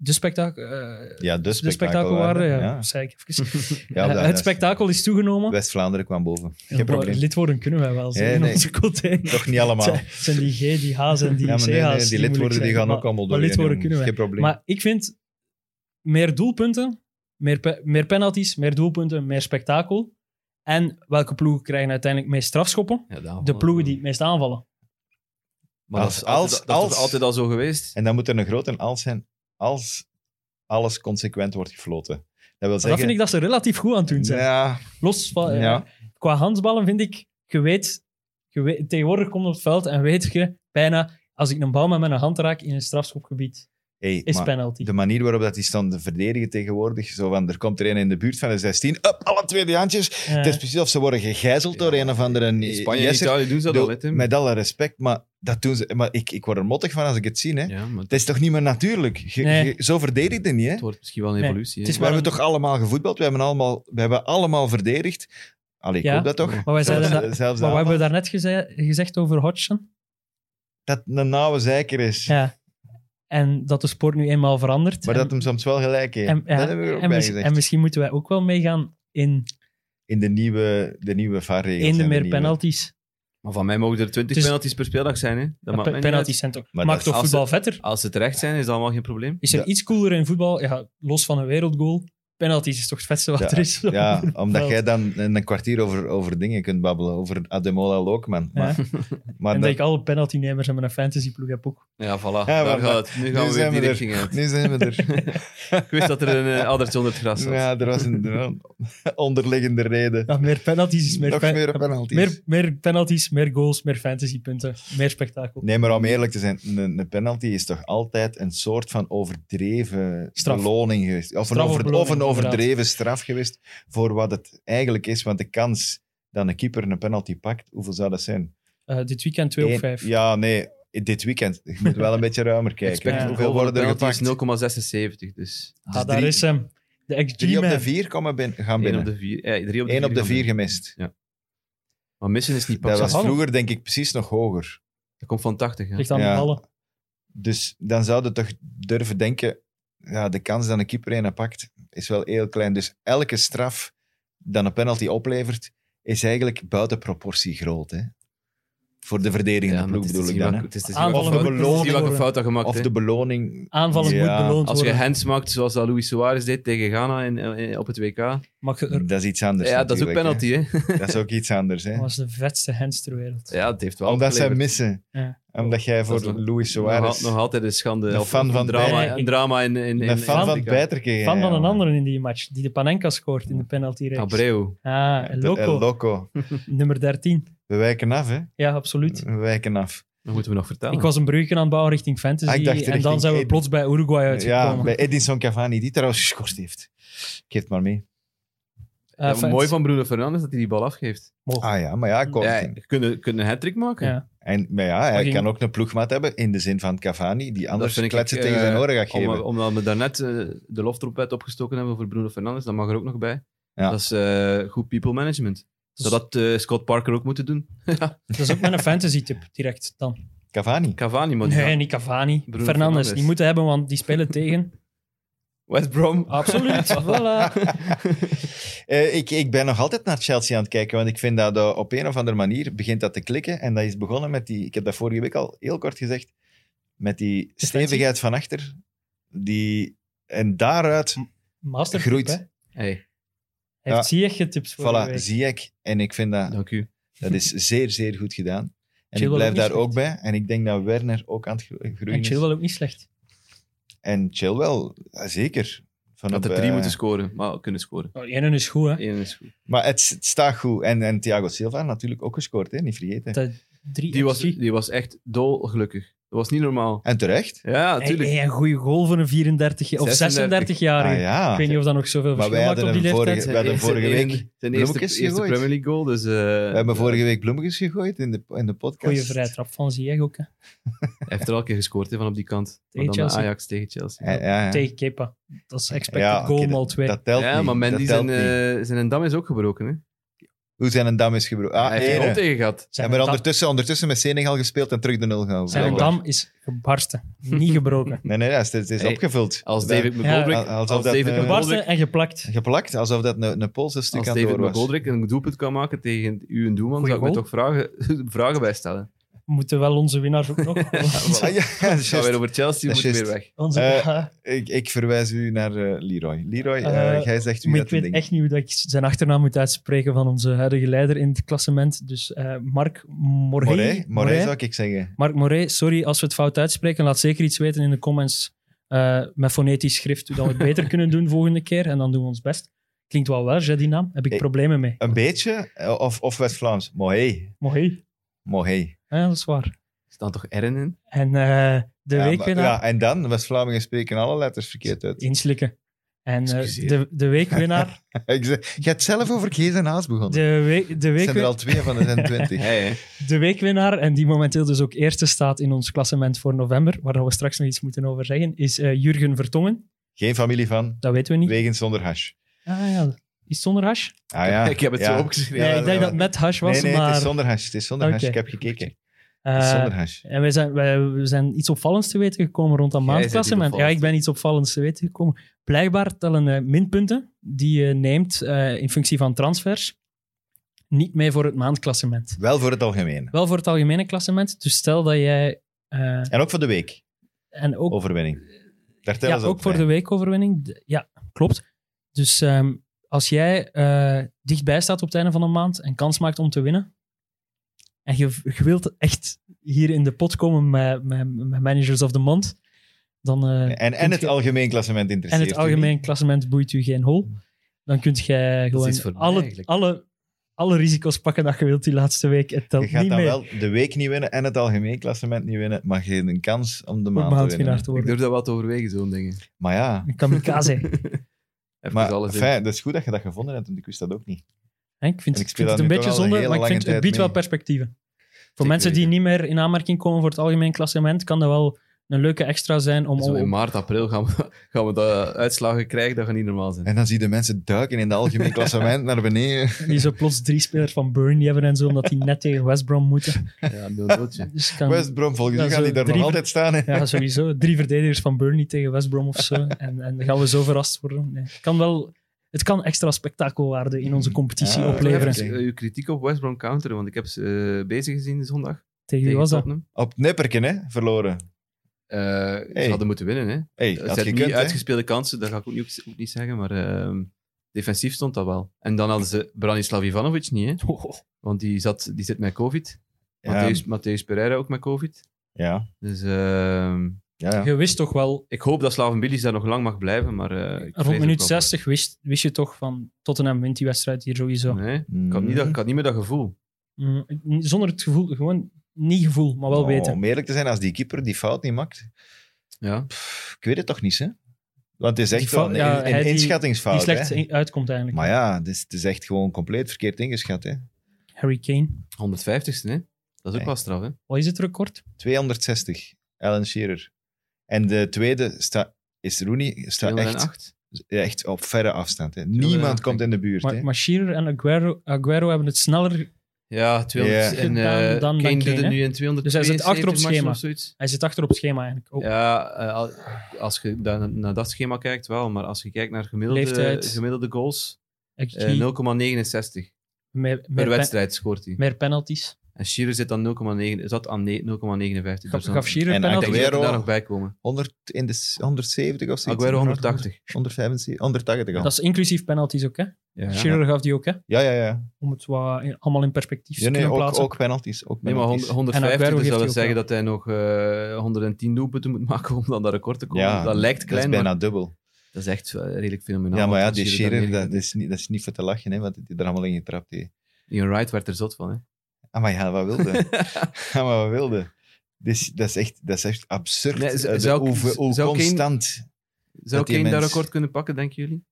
D: de, spektak, eh,
C: ja, de
D: de spektakelwaarde, ja, zei ik even.
C: Ja,
D: Eh,
C: daar
D: het
C: is-
D: spektakel is toegenomen.
C: West-Vlaanderen kwam boven.
D: Ja,
C: Geen
D: maar
C: probleem.
D: Lidwoorden kunnen wij wel zeggen
C: Nee,
D: in
C: nee.
D: onze container.
C: Toch niet allemaal.
D: Het zijn die G, die H's en die
C: Ja,
D: CH's.
C: maar nee, nee, die
D: die
C: lidwoorden
D: moeilijk
C: die
D: zijn.
C: gaan
D: Maar-
C: ook allemaal door.
D: Maar lidwoorden kunnen wij.
C: Geen probleem.
D: Maar ik vind meer doelpunten, meer, pe- meer penalties, meer doelpunten, meer spektakel. En welke ploegen krijgen uiteindelijk meest strafschoppen?
E: Ja, daarom.
C: Oh.
D: De ploegen die het meest aanvallen.
E: Maar dat is,
C: Als-
E: altijd, dat is
C: als-
E: toch altijd al zo geweest.
C: En dan moet er een grote als zijn als alles consequent wordt gefloten. Dat wil
D: Maar dat
C: zeggen...
D: vind ik dat ze relatief goed aan het doen zijn.
C: Ja,
D: Los van, eh,
C: ja.
D: Qua handballen vind ik, je weet, je weet- tegenwoordig komt op het veld en weet je bijna, als ik een bal met mijn hand raak in een strafschopgebied,
C: Hey,
D: is
C: maar
D: penalty.
C: de manier waarop dat die standen verdedigen tegenwoordig, zo van, er komt er een in de buurt van de 16, up, alle tweede handjes.
D: Eh,
C: Het is precies of ze worden gegijzeld door
E: Ja.
C: een of andere...
E: In Spanje en
C: Yes,
E: Italië doen ze dat
C: Doe-
E: al, hè, Tim.
C: Met alle respect, maar dat doen ze. Maar ik, ik word er mottig van als ik het zie. Hè.
E: Ja, maar
C: Het is toch niet meer natuurlijk? Je-
D: Nee.
C: je- zo verdedigt het niet. Hè.
E: het wordt misschien wel een
D: Nee,
E: evolutie.
D: het is
C: We
D: maar-
C: hebben toch allemaal gevoetbald? We hebben allemaal, we hebben allemaal verdedigd. Allee, ik
D: Ja,
C: hoop dat toch?
D: maar wij zeiden dat,
C: Zelfs- zelfs dat,
D: Maar wat hebben we daarnet geze gezegd over Hodgson?
C: dat het een nauwe zeiker is.
D: Ja. En dat de sport nu eenmaal verandert.
C: Maar
D: en,
C: dat hem soms wel gelijk heeft.
D: en, ja,
C: dat hebben we er ook
D: en,
C: bij
D: mis-
C: gezegd.
D: en misschien moeten wij ook wel meegaan in,
C: In de nieuwe, de nieuwe VAR-regels.
D: in de
C: en
D: meer
C: nieuwe-
D: penalties.
E: Maar van mij mogen er 20
D: Het is-
E: penalties per speeldag zijn. Hè. Dat
D: Maar
E: maakt
D: pe-
E: mij niet
D: penalties zijn toch...
C: Maar
D: maakt
C: dat-
D: toch
E: als ze-
D: voetbal vetter?
E: uit. Als ze terecht zijn, is dat allemaal geen probleem.
D: Is er
C: Ja.
D: iets cooler in voetbal? Ja, los van een wereldgoal. Penalties is toch het vetste wat
C: Ja,
D: er is?
C: Ja, omdat
D: Wel.
C: jij dan in een kwartier over, over dingen kunt babbelen. Over Ademola Lookman.
D: Ja.
C: Maar, maar
D: en
C: dat-
D: dat ik alle penaltynemers en mijn fantasyploeg heb ook.
E: Ja, voilà.
C: maar-
E: Daar gaat het. Nu gaan
C: nu
E: we weer
C: zijn
E: die
C: we er.
E: richting uit.
C: nu zijn we er.
E: Ik wist dat er een eh, addertje onder het gras zat.
C: Ja, er was een, er was een onderliggende reden.
D: Ja, meer penalties is meer,
C: Nog
D: pen-
C: meer penalties.
D: meer, meer penalties, meer goals, meer fantasypunten, meer spektakel.
C: Nee, maar om eerlijk te zijn, een, een penalty is toch altijd een soort van overdreven
D: Straf.
C: beloning geweest. Of een,
D: Straf of
C: over-
D: beloning,
C: of een overdreven
D: inderdaad.
C: straf geweest voor wat het eigenlijk is. Want de kans dat een keeper een penalty pakt, hoeveel zou dat zijn?
D: Eh, dit weekend 2
C: Eén-
D: op 5.
C: Ja, nee, dit weekend. Je moet wel een beetje ruimer kijken.
E: Expect
D: Ja.
C: Hoeveel worden er
E: penalty is
C: gepakt?
E: 0,76. Dus
D: ah, daar
C: drie-
D: is hem. De
C: Drie op de
D: XG-man.
C: vier komen bin- gaan
E: 1 op
C: binnen.
E: de 4. Ja, 3 op de 4.
C: Eén op de vier gemist.
E: Maar missen is niet pas.
C: Dat
E: Dat,
C: was
D: Hallo.
C: vroeger denk ik precies nog hoger.
E: komt van 80. Hè.
D: Ligt aan
C: Ja.
D: de ballen.
C: Dus dan zou je toch durven denken, ja, de kans dat een keeper een pakt, is wel heel klein. Dus elke straf dat een penalty oplevert, is eigenlijk buiten proportie groot. Hè? Voor de verdedigende
E: Ja, maar
C: ploeg
E: het is
C: bedoel
E: dus
C: ik
E: niet
C: dan.
E: wat-
C: hè.
E: Het is dus
D: Aanvallen
E: niet wat-
D: moet
E: het is niet welke
D: beloond
E: fout dat gemaakt
C: Of de beloning.
D: Aanvallen
C: Ja,
D: moet beloond
E: Als je
D: worden.
E: hands maakt, zoals dat Luis Suarez deed tegen Ghana in, eh, in- op het WK.
D: Mag je er
C: Dat is iets anders.
E: ja, dat is ook
C: natuurlijk,
E: penalty, hè.
C: hè. Dat is ook iets anders. Hè?
D: was de vetste hands ter wereld.
E: Ja, het heeft wel
C: Omdat zij
E: opgeleverd.
C: missen.
D: Ja.
C: Omdat jij voor
E: is nog-
C: Luis
E: nog,
C: Suarez
E: nog altijd een schande.
C: Een
E: Of-
C: fan
E: of
C: van
E: een drama,
D: Beider.
E: een drama in, in, in
C: een fan van het
E: Afrika.
C: bijtrekken.
D: Fan van een andere in die match, die de Panenka scoort in de penaltyreeks.
E: Abreu.
D: Ah, El Loco,
C: Loco.
D: nummer 13.
C: We wijken af, hè?
D: Ja, absoluut.
C: We wijken af.
E: Dat moeten we nog vertellen.
D: Ik was een brugje aan het bouwen richting fantasy
C: Ah, ik dacht
D: en dan
C: richting
D: zijn we
C: Ed-
D: plots bij Uruguay
C: Ja,
D: uitgekomen.
C: bij Edinson Cavani, die trouwens geschorst heeft. Ik geef het maar mee.
D: Eh,
E: Ja,
D: fans.
E: mooi van Bruno Fernandes dat hij die bal afgeeft.
D: Oh.
C: Ah ja, maar ja,
E: Ja,
C: korting.
E: kunnen, kunnen een hat maken.
D: Ja.
C: En, maar ja, hij
D: Maar ging-
C: kan ook een ploegmaat hebben, in de zin van Cavani, die anders
E: vind ik,
C: kletsen
E: eh,
C: tegen zijn oren gaat
E: Om,
C: geven.
E: omdat we daarnet eh, de loftrompet opgestoken hebben voor Bruno Fernandes, dat mag er ook nog bij.
C: Ja.
E: Dat is eh, goed people management. Zou dat eh, Scott Parker ook moeten doen?
D: Dat is ook mijn fantasy tip direct dan.
C: Cavani.
E: Cavani, maar die
D: Nee,
E: gaat-
D: niet Cavani.
E: Bruno
D: Fernandes,
E: Fernandes.
D: die moeten hebben, want die spelen tegen.
E: West Brom.
D: Absoluut, voilà.
C: Eh, ik, ik ben nog altijd naar Chelsea aan het kijken, want ik vind dat eh, op een of andere manier begint dat te klikken. En dat is begonnen met die, ik heb dat vorige week al heel kort gezegd, met die
D: Defensie.
C: stevigheid van achter. Die, en daaruit,
D: Master
C: Groeit.
D: Hij
E: Hey,
C: Ja.
D: heeft zie je getipt voor
C: voilà, zie ik. En ik vind dat
E: dank u.
C: Dat is zeer, zeer goed gedaan. En
D: Chilwell
C: ik blijf
D: ook
C: daar
D: niet
C: ook bij. En ik denk dat Werner ook aan het gro- groeien
D: En
C: is.
D: Chilwell ook niet slecht.
C: En Chilwell, ja, zeker. Van
E: Dat
C: op,
E: er drie
C: eh,
E: moeten scoren, maar kunnen scoren.
D: Oh, Eén is goed, hè.
E: Eén is goed.
C: Maar het, het staat goed. En, en Thiago Silva natuurlijk ook gescoord, hè? niet vergeten.
D: Dat drie
E: Die was,
D: XG.
E: die was echt dolgelukkig. Dat was niet normaal.
C: En terecht.
E: Ja,
D: Hey,
E: natuurlijk.
D: hey, een goede goal voor een 34 of
E: 36.
D: 36-jarige.
C: Ah, ja.
D: Ik weet niet of dat nog zoveel
C: Maar wij
D: verschil maakt op die
C: hadden hem
D: leeftijd.
C: vorige- we hadden vorige week
E: zijn eerste,
C: bloemetjes
E: eerste
C: gegooid.
E: Premier League goal. Dus, eh,
C: We hebben vorige week bloemetjes gegooid in de, in de podcast.
D: Goeie vrije trap van Ziyech ook, hè.
E: Hij heeft er al een keer gescoord hè, van op die kant. Maar
D: Tegen
E: dan de
D: Chelsea.
E: Ajax tegen Chelsea.
C: Ja, ja, ja.
D: Tegen Kepa. Dat is expected
C: Ja, oké,
D: goal mal 2.
C: Dat telt
E: ja,
C: niet.
E: maar Mendy
C: dat telt
E: zijn,
C: niet.
E: eh, zijn een dam is ook gebroken. Hè?
C: Hoe zijn een dam is gebroken? Ah,
E: hij heeft er
C: ene.
E: ook tegen gehad.
C: Ja, maar ondertussen, ondertussen met Senegal gespeeld en terug de nul gehouden.
D: Zijn
E: Blijkbaar.
D: dam is gebarsten. Niet gebroken.
C: Nee, nee, dat is, het is
E: Hey,
C: opgevuld.
E: Als
C: Dat-
E: David McGoldrick,
C: Ja, alsof
E: als
C: dat,
E: David
C: eh,
E: McGoldrick,
D: Gebarsten en geplakt.
C: Geplakt, alsof dat een, een Poolse stuk
E: als
C: aan
E: David
C: het door was.
E: McGoldrick een doelpunt kan maken tegen uw doelman,
D: Goeie
E: zou ik me
D: goal.
E: toch vragen, vragen bij stellen.
D: We moeten wel onze winnaars ook nog.
C: Ah, ja, dat is
E: Gaan weer
C: juist.
E: over Chelsea,
C: Dat
E: moet
C: is
E: weer
C: juist.
E: weg.
D: onze,
C: Eh,
D: Ja,
C: ik, ik verwijs u naar eh, Leroy. Leroy, eh,
D: Eh,
C: jij zegt wie
D: maar
C: dat de
D: ik weet
C: ding
D: echt niet hoe dat ik zijn achternaam moet uitspreken van onze huidige leider in het klassement. Dus eh, Marc Morey.
C: Moray, Moray
D: Morey.
C: zou ik zeggen.
D: Marc Moray, sorry als we het fout uitspreken. Laat zeker iets weten in de comments eh, met fonetisch schrift, hoe dat we het beter kunnen doen volgende keer. En dan doen we ons best. Klinkt wel wel, hè, die naam. Heb ik
C: Ik-
D: problemen mee.
C: Een beetje, eh, of, of West-Vlaams. Moray.
D: Mooi.
C: Moray.
D: Ja, dat is waar.
E: Er staan toch R'en in?
D: En eh, de
C: Ja, maar-
D: weekwinnaar,
C: ja, en dan, West-Vlamingen spreken alle letters verkeerd uit.
D: inslikken. En eh,
E: Excuseer.
D: de, de weekwinnaar,
C: Ik zeg- Je hebt zelf over Kees en Haas begonnen.
D: de, week, de,
C: Er zijn er
D: weekwin-
C: al twee van de zijn twintig.
E: Hey, hè.
D: de weekwinnaar, en die momenteel dus ook eerste staat in ons klassement voor november, waar we straks nog iets moeten over zeggen, is eh, Jurgen Vertongen.
C: Geen familie van,
D: Dat weten we niet.
C: wegens zonder hash.
D: Ah ja, is het zonder hash?
C: Ah, ja.
E: Ik heb het
C: ja.
E: zo opgeschreven.
D: Ja,
C: Ja,
D: ik denk
C: ja.
D: dat het met hash was,
C: Nee, nee,
D: maar...
C: het is zonder hash. Het is zonder hash.
D: Oké.
C: Ik heb gekeken. Het is
D: eh,
C: zonder hash.
D: En we zijn, wij, we zijn iets opvallends te weten gekomen rond dat
E: Jij bent
D: maandklassement.
E: iets
D: Ja, ik ben iets opvallends te weten gekomen. Blijkbaar tellen eh, minpunten die je neemt eh, in functie van transfers niet mee voor het maandklassement.
C: Wel voor het algemeen.
D: Wel voor het algemene klassement. Dus stel dat jij... eh,
C: En ook voor de week.
D: en ook,
C: Overwinning. Daar tellen
D: ja,
C: ze
D: ook voor de
C: bij.
D: weekoverwinning. D- Ja, klopt. Dus ehm, als jij eh, dichtbij staat op het einde van een maand en kans maakt om te winnen, en je, je wilt echt hier in de pot komen met, met, met managers of the month, dan... eh,
C: En,
D: kunt
C: en het
D: je-
C: algemeen klassement
D: en
C: interesseert
D: het
C: u
D: algemeen
C: niet.
D: klassement boeit u geen hol. Dan kunt jij
E: iets voor
D: gewoon
E: mij
D: alle,
E: eigenlijk.
D: alle, alle risico's pakken dat je wilt die laatste week. Het telt
C: Je gaat
D: niet
C: dan
D: mee
C: wel de week niet winnen en het algemeen klassement niet winnen, maar je hebt een kans om de
D: om
C: maand, te
D: maandwinnaar
C: winnen.
D: te
E: Ik
D: worden.
E: durf dat wel te overwegen, zo'n dingen.
C: Maar ja,
D: Een kamikaze.
E: Even
C: maar,
E: alles in.
C: fijn, dat is goed dat je dat gevonden hebt, want ik wist dat ook niet.
D: Hè, Ik vind,
C: En ik
D: ik
C: speel daar
D: vind het een
C: nu
D: beetje
C: toch al een
D: zonde,
C: hele
D: maar ik
C: lange
D: vind, het
C: tijd
D: biedt wel
C: mee.
D: perspectieven. Voor
E: Zeker
D: mensen die
E: weten.
D: niet meer in aanmerking komen voor het algemeen klassement, kan dat wel een leuke extra zijn om...
E: Zo in
D: om
E: maart, april gaan we, gaan we dat uitslagen krijgen, dat gaat niet normaal zijn.
C: En dan zie je de mensen duiken in het algemeen klassement naar beneden.
D: die zo plots drie spelers van Burnley hebben en zo, omdat die net tegen West Brom moeten.
E: Ja, een doeltje.
D: Dus kan,
C: West Brom, volgens
D: Ja,
C: u gaan
D: zo
C: die daar nog
D: drie-
C: altijd staan. hè?
D: Ja, sowieso. Drie verdedigers van Burnley tegen West Brom of zo. En, en dan gaan we zo verrast worden. Nee. Het Kan wel, het kan extra spektakelwaarde in onze competitie
C: Ja,
D: opleveren.
C: oké.
E: Uw eh, kritiek op West Brom counteren, want ik heb ze eh, bezig gezien zondag.
D: Tegen wie
E: tegen
D: was dat?
E: Tottenham.
C: Op nipperken, hè? Verloren.
E: Eh,
C: Hey.
E: Ze hadden moeten winnen, hè.
C: Hey,
E: Het
C: had
E: zijn
C: je
E: niet
C: kunt, hè?
E: uitgespeelde kansen, dat ga ik ook niet, ook niet zeggen, maar ehm, defensief stond dat wel. En dan hadden ze Branislav Ivanovic niet, hè? want die, zat, die zit met COVID.
C: Ja,
E: Matthäus, Matthäus Pereira ook met COVID.
C: ja,
E: Dus ehm,
C: ja, ja.
D: Je wist toch wel,
E: ik hoop dat Slaven Bilic daar nog lang mag blijven, maar... eh, ik vrees
D: rond
E: ook
D: minuut
E: wel-
D: 60 wist, wist je toch van Tottenham wint die wedstrijd hier sowieso.
E: Nee, ik had, niet dat, ik had niet meer dat gevoel.
D: Mm, Zonder het gevoel, gewoon niet gevoel, maar wel
C: Oh,
D: weten.
C: Om eerlijk te zijn, als die keeper die fout niet maakt,
E: Ja.
C: Pff, ik weet het toch niet, hè? Want het is
D: Die
C: echt wel
D: fout-
C: een,
D: ja,
C: een
D: hij die-
C: inschattingsfout.
D: Die slecht
C: hè?
D: in- uitkomt eigenlijk.
C: Maar ja, het is, het is echt gewoon compleet verkeerd ingeschat. Hè?
D: Harry Kane,
E: 150ste, hè? Dat is ook
C: Nee.
E: wel straf, hè?
D: wat is het record?
C: 260, Alan Shearer. En de tweede sta, is Rooney, staat echt,
E: 208.
C: echt op verre afstand. Hè?
E: 208,
C: Niemand komt in de buurt. Hè?
D: Maar, maar Shearer en Aguero, Aguero hebben het sneller.
E: Ja, 200.
C: Ja.
E: En
D: Dan-
E: eh
D: dan- dan
E: Kane doet
D: Kane,
E: het
D: hè?
E: nu in 200.
D: Dus hij zit achter op schema. Oh.
E: Of zoiets.
D: Hij zit achter op schema eigenlijk. Ook.
E: Ja, eh, al- als je dan naar dat schema kijkt, wel. Maar als je kijkt naar gemiddelde,
D: Leeftijd.
E: gemiddelde goals,
D: Ik
E: eh,
D: zie
E: 0,69
D: meer, meer,
E: per
D: pen-
E: wedstrijd scoort hij.
D: meer penalties.
E: En Shearer zit dan 0,9 zat aan ne- 0,59.
D: Gaf,
E: Dus dan-
D: gaf Shearer
C: En
E: Ik denk
D: penalties?
E: dat we
C: Aguero-
E: daar nog bij komen.
C: 100, in de s- 170 of zo.
E: Aguero 180.
C: 175, 180 al.
D: Dat is inclusief penalties ook, hè?
E: Ja.
D: Shearer gaf die ook, hè?
C: Ja, ja, ja.
D: Om het wat in- allemaal in perspectief te
C: Ja, nee,
D: kunnen
C: ook,
D: plaatsen.
C: ook penalties. Ook
E: Nee, maar
C: penalties.
E: 100 150,
D: Aguero
E: dus dat
D: geeft hij
E: wil
D: ook
E: zeggen
D: wel.
E: dat hij nog eh 110 doelpunten moet maken om dan dat record te komen.
C: Ja,
E: dat lijkt
C: dat is
E: klein,
C: bijna
E: maar
C: dubbel.
E: Dat is echt eh, redelijk fenomenaal.
C: ja, maar ja,
E: Wat
C: die
E: Shearer
C: Shearer,
E: daarmee-
C: dat is, niet, dat is niet voor te lachen, hè, want die er allemaal in getrapt heeft.
E: Ian Wright werd er zot van, hè.
C: Ah, maar ja, wat wilde? ja, maar wat wilde? Dus, dat, is echt, dat is echt absurd.
E: Nee, z-
C: Eh, de-
E: zou-
C: hoe, hoe- hoe
E: zou Kane-
C: constant.
E: Zou
C: die
E: Kane dat
C: mens-
E: record kunnen pakken, denken jullie?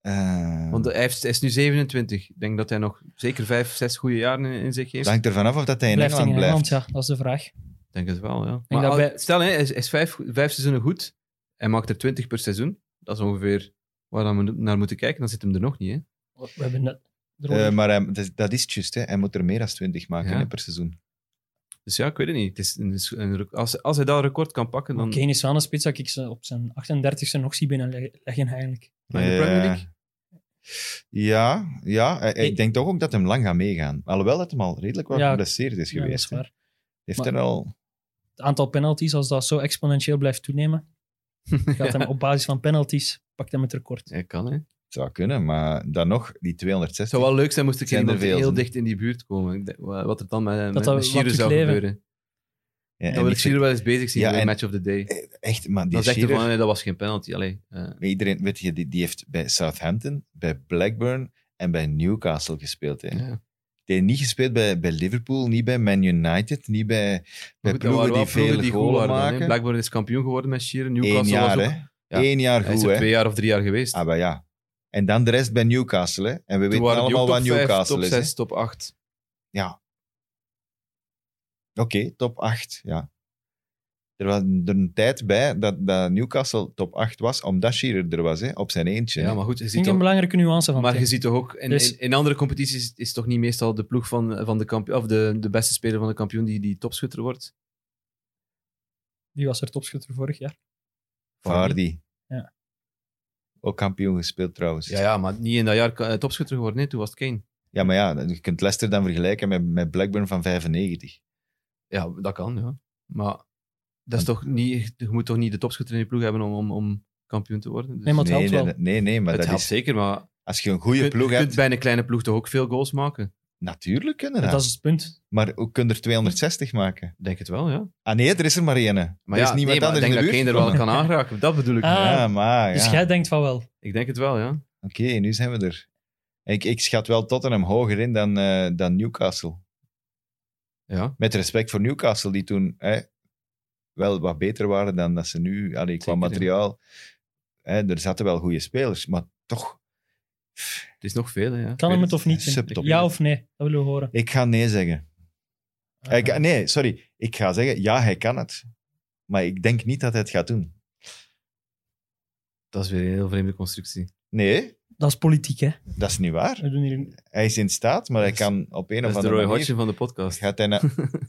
C: eh,
E: Want hij, heeft- hij is nu 27. Ik denk dat hij nog zeker vijf, zes goede jaren in, in zich heeft.
C: het hangt ervan af of dat hij in
D: Blijft in
C: Engeland blijft.
D: Engeland, ja, dat is de vraag.
E: Ik denk het wel, ja.
D: dat
E: Maar al-
D: bij-
E: Stel, hè, hij is, hij is vijf, vijf seizoenen goed. Hij maakt er 20 per seizoen. Dat is ongeveer waar dan we naar moeten kijken. Dan zit hem er nog niet, hè.
D: We hebben net...
C: Eh, maar hij- dat, is- dat is het juist, hè. hij moet er meer dan 20 maken
E: Ja.
C: hè, per seizoen.
E: Dus ja, ik weet het niet. Het is een, een rec- als, als hij dat record kan pakken, dan...
D: Maar Kane is wel een spits dat ik ze op zijn 38e nog zie binnenleggen eigenlijk.
E: Maar in de Premier
C: Eh,
E: League?
C: Ja, ja eh, ik
D: Ik-
C: denk toch ook dat hem lang gaat meegaan. Alhoewel dat hem al redelijk wat
D: Ja,
C: geblesseerd is
D: Ja, dat is
C: geweest. hè.
D: waar.
C: Heeft
D: Maar-
C: er al...
D: Het aantal penalties, als dat zo exponentieel blijft toenemen, gaat hem op basis van penalties, pakt hem het record.
E: Hij kan, hè.
C: Het zou kunnen, maar dan nog, die
E: Het
C: 260.
E: zou wel leuk zijn moest ik
C: Zijn er
E: iemand
C: veel,
E: heel
C: hè?
E: dicht in die buurt komen. Ik denk, wa- Wat er dan met, met,
D: dat
E: met
D: wat
E: Shearer
D: doet
E: zou
D: leven.
E: gebeuren.
C: Ja, en
E: dat wil
C: ik
E: ik Shearer wel eens bezig zien
C: Ja,
E: bij
C: en-
E: Match of the Day.
C: vind- eh, Echt, maar die
E: Dan zegt hij
C: Shearer-
E: van, nee, dat was geen penalty. Allee, eh,
C: Maar Iedereen, weet je, die, die heeft bij Southampton, bij Blackburn en bij Newcastle gespeeld. Hè.
E: ja. Maar
C: Die heeft niet gespeeld bij, bij Liverpool, niet bij Man United, niet bij, bij
E: goed, dat waren
C: ploegen
E: wel
C: die veel
E: die goed
C: goalen
E: waren dan, hè.
C: maken.
E: Blackburn is kampioen geworden met Shearer. Newcastle
C: Eén jaar,
E: was ook...
C: hè.
E: Ja.
C: Eén jaar
E: Hij is
C: goed,
E: er
C: hè.
E: twee jaar of drie jaar geweest.
C: Ah, maar ja. En dan de rest bij Newcastle, hè. En we
E: Toen
C: weten
E: waren die ook
C: allemaal wat
E: top vijf,
C: Newcastle
E: top
C: is, hè.
E: 6, top 8.
C: Oké, top 8, ja. Er was er een tijd bij dat, dat Newcastle top 8 was, omdat Shearer er was, hè, op zijn eentje.
E: Ja,
C: hè.
E: maar goed, je
D: Ik
E: ziet
D: denk een
E: toch,
D: belangrijke nuance van
E: maar je
D: Kane.
E: ziet toch ook... In,
D: Dus-
E: in, in andere competities is- is toch niet meestal de ploeg van, van de kampioen... Of de, de beste speler van de kampioen die, die topschutter wordt?
D: Die was er topschutter vorig jaar.
C: Vardy.
D: Ja.
C: Ook kampioen gespeeld, trouwens.
E: Ja, ja, maar niet in dat jaar eh, topschutter geworden. Nee, toen was het Kane.
C: Ja, maar ja, je kunt Leicester dan vergelijken met, met Blackburn van 95.
E: Ja, dat kan, ja. Maar dat is toch niet, je moet toch niet de topschutter in je ploeg hebben om, om, om kampioen te worden? Dus
D: Nee, maar het
C: nee,
D: helpt wel.
C: nee, nee, nee, maar
E: het
C: dat
E: helpt
C: is,
E: zeker, maar
C: als je een
E: je,
C: goede
E: kunt-
C: ploeg
E: je
C: hebt,
E: kunt bij een kleine ploeg toch ook veel goals maken?
C: natuurlijk kunnen dat.
D: Dat is het punt.
C: Maar ook kun je er 260 maken.
E: Ik Denk het wel, ja.
C: Ah nee, er is er maar één. hè.
E: Maar
C: er
E: ja,
C: is niemand
E: nee, maar
C: anders
E: ik denk
C: in de
E: dat Kane
C: buurt.
E: er wel kan aanraken, dat bedoel ik.
D: Ah.
E: ja.
C: Ja, maar
D: Dus
C: ja.
D: jij denkt van wel.
E: Ik denk het wel, ja.
C: Oké, nu zijn we er. Ik, ik schat wel Tottenham hoger in dan, eh, dan Newcastle.
E: Ja,
C: Met respect voor Newcastle, die toen hè, wel wat beter waren dan dat ze nu. Allee, qua
E: Zeker, ja.
C: materiaal. Hè, er zaten wel goede spelers, maar toch.
E: het is nog veel, hè, ja.
D: Kan
C: weet
D: hem
C: het,
D: het of niet?
C: eh, subtop.
D: Ja of nee? Dat willen we horen.
C: Ik ga nee zeggen. Ik ga-
D: Ah.
C: nee, sorry. Ik ga zeggen, ja, hij kan het. Maar ik denk niet dat hij het gaat doen.
E: Dat is weer een heel vreemde constructie.
C: Nee,
D: Dat is politiek, hè?
C: dat is niet waar.
D: We doen hier...
C: Hij is in staat, maar hij
E: Dat is-
C: kan op een
E: Dat is
C: of
E: de
C: andere
E: Roy
C: manier...
E: Hodgson van de podcast.
C: Gaat hij naar...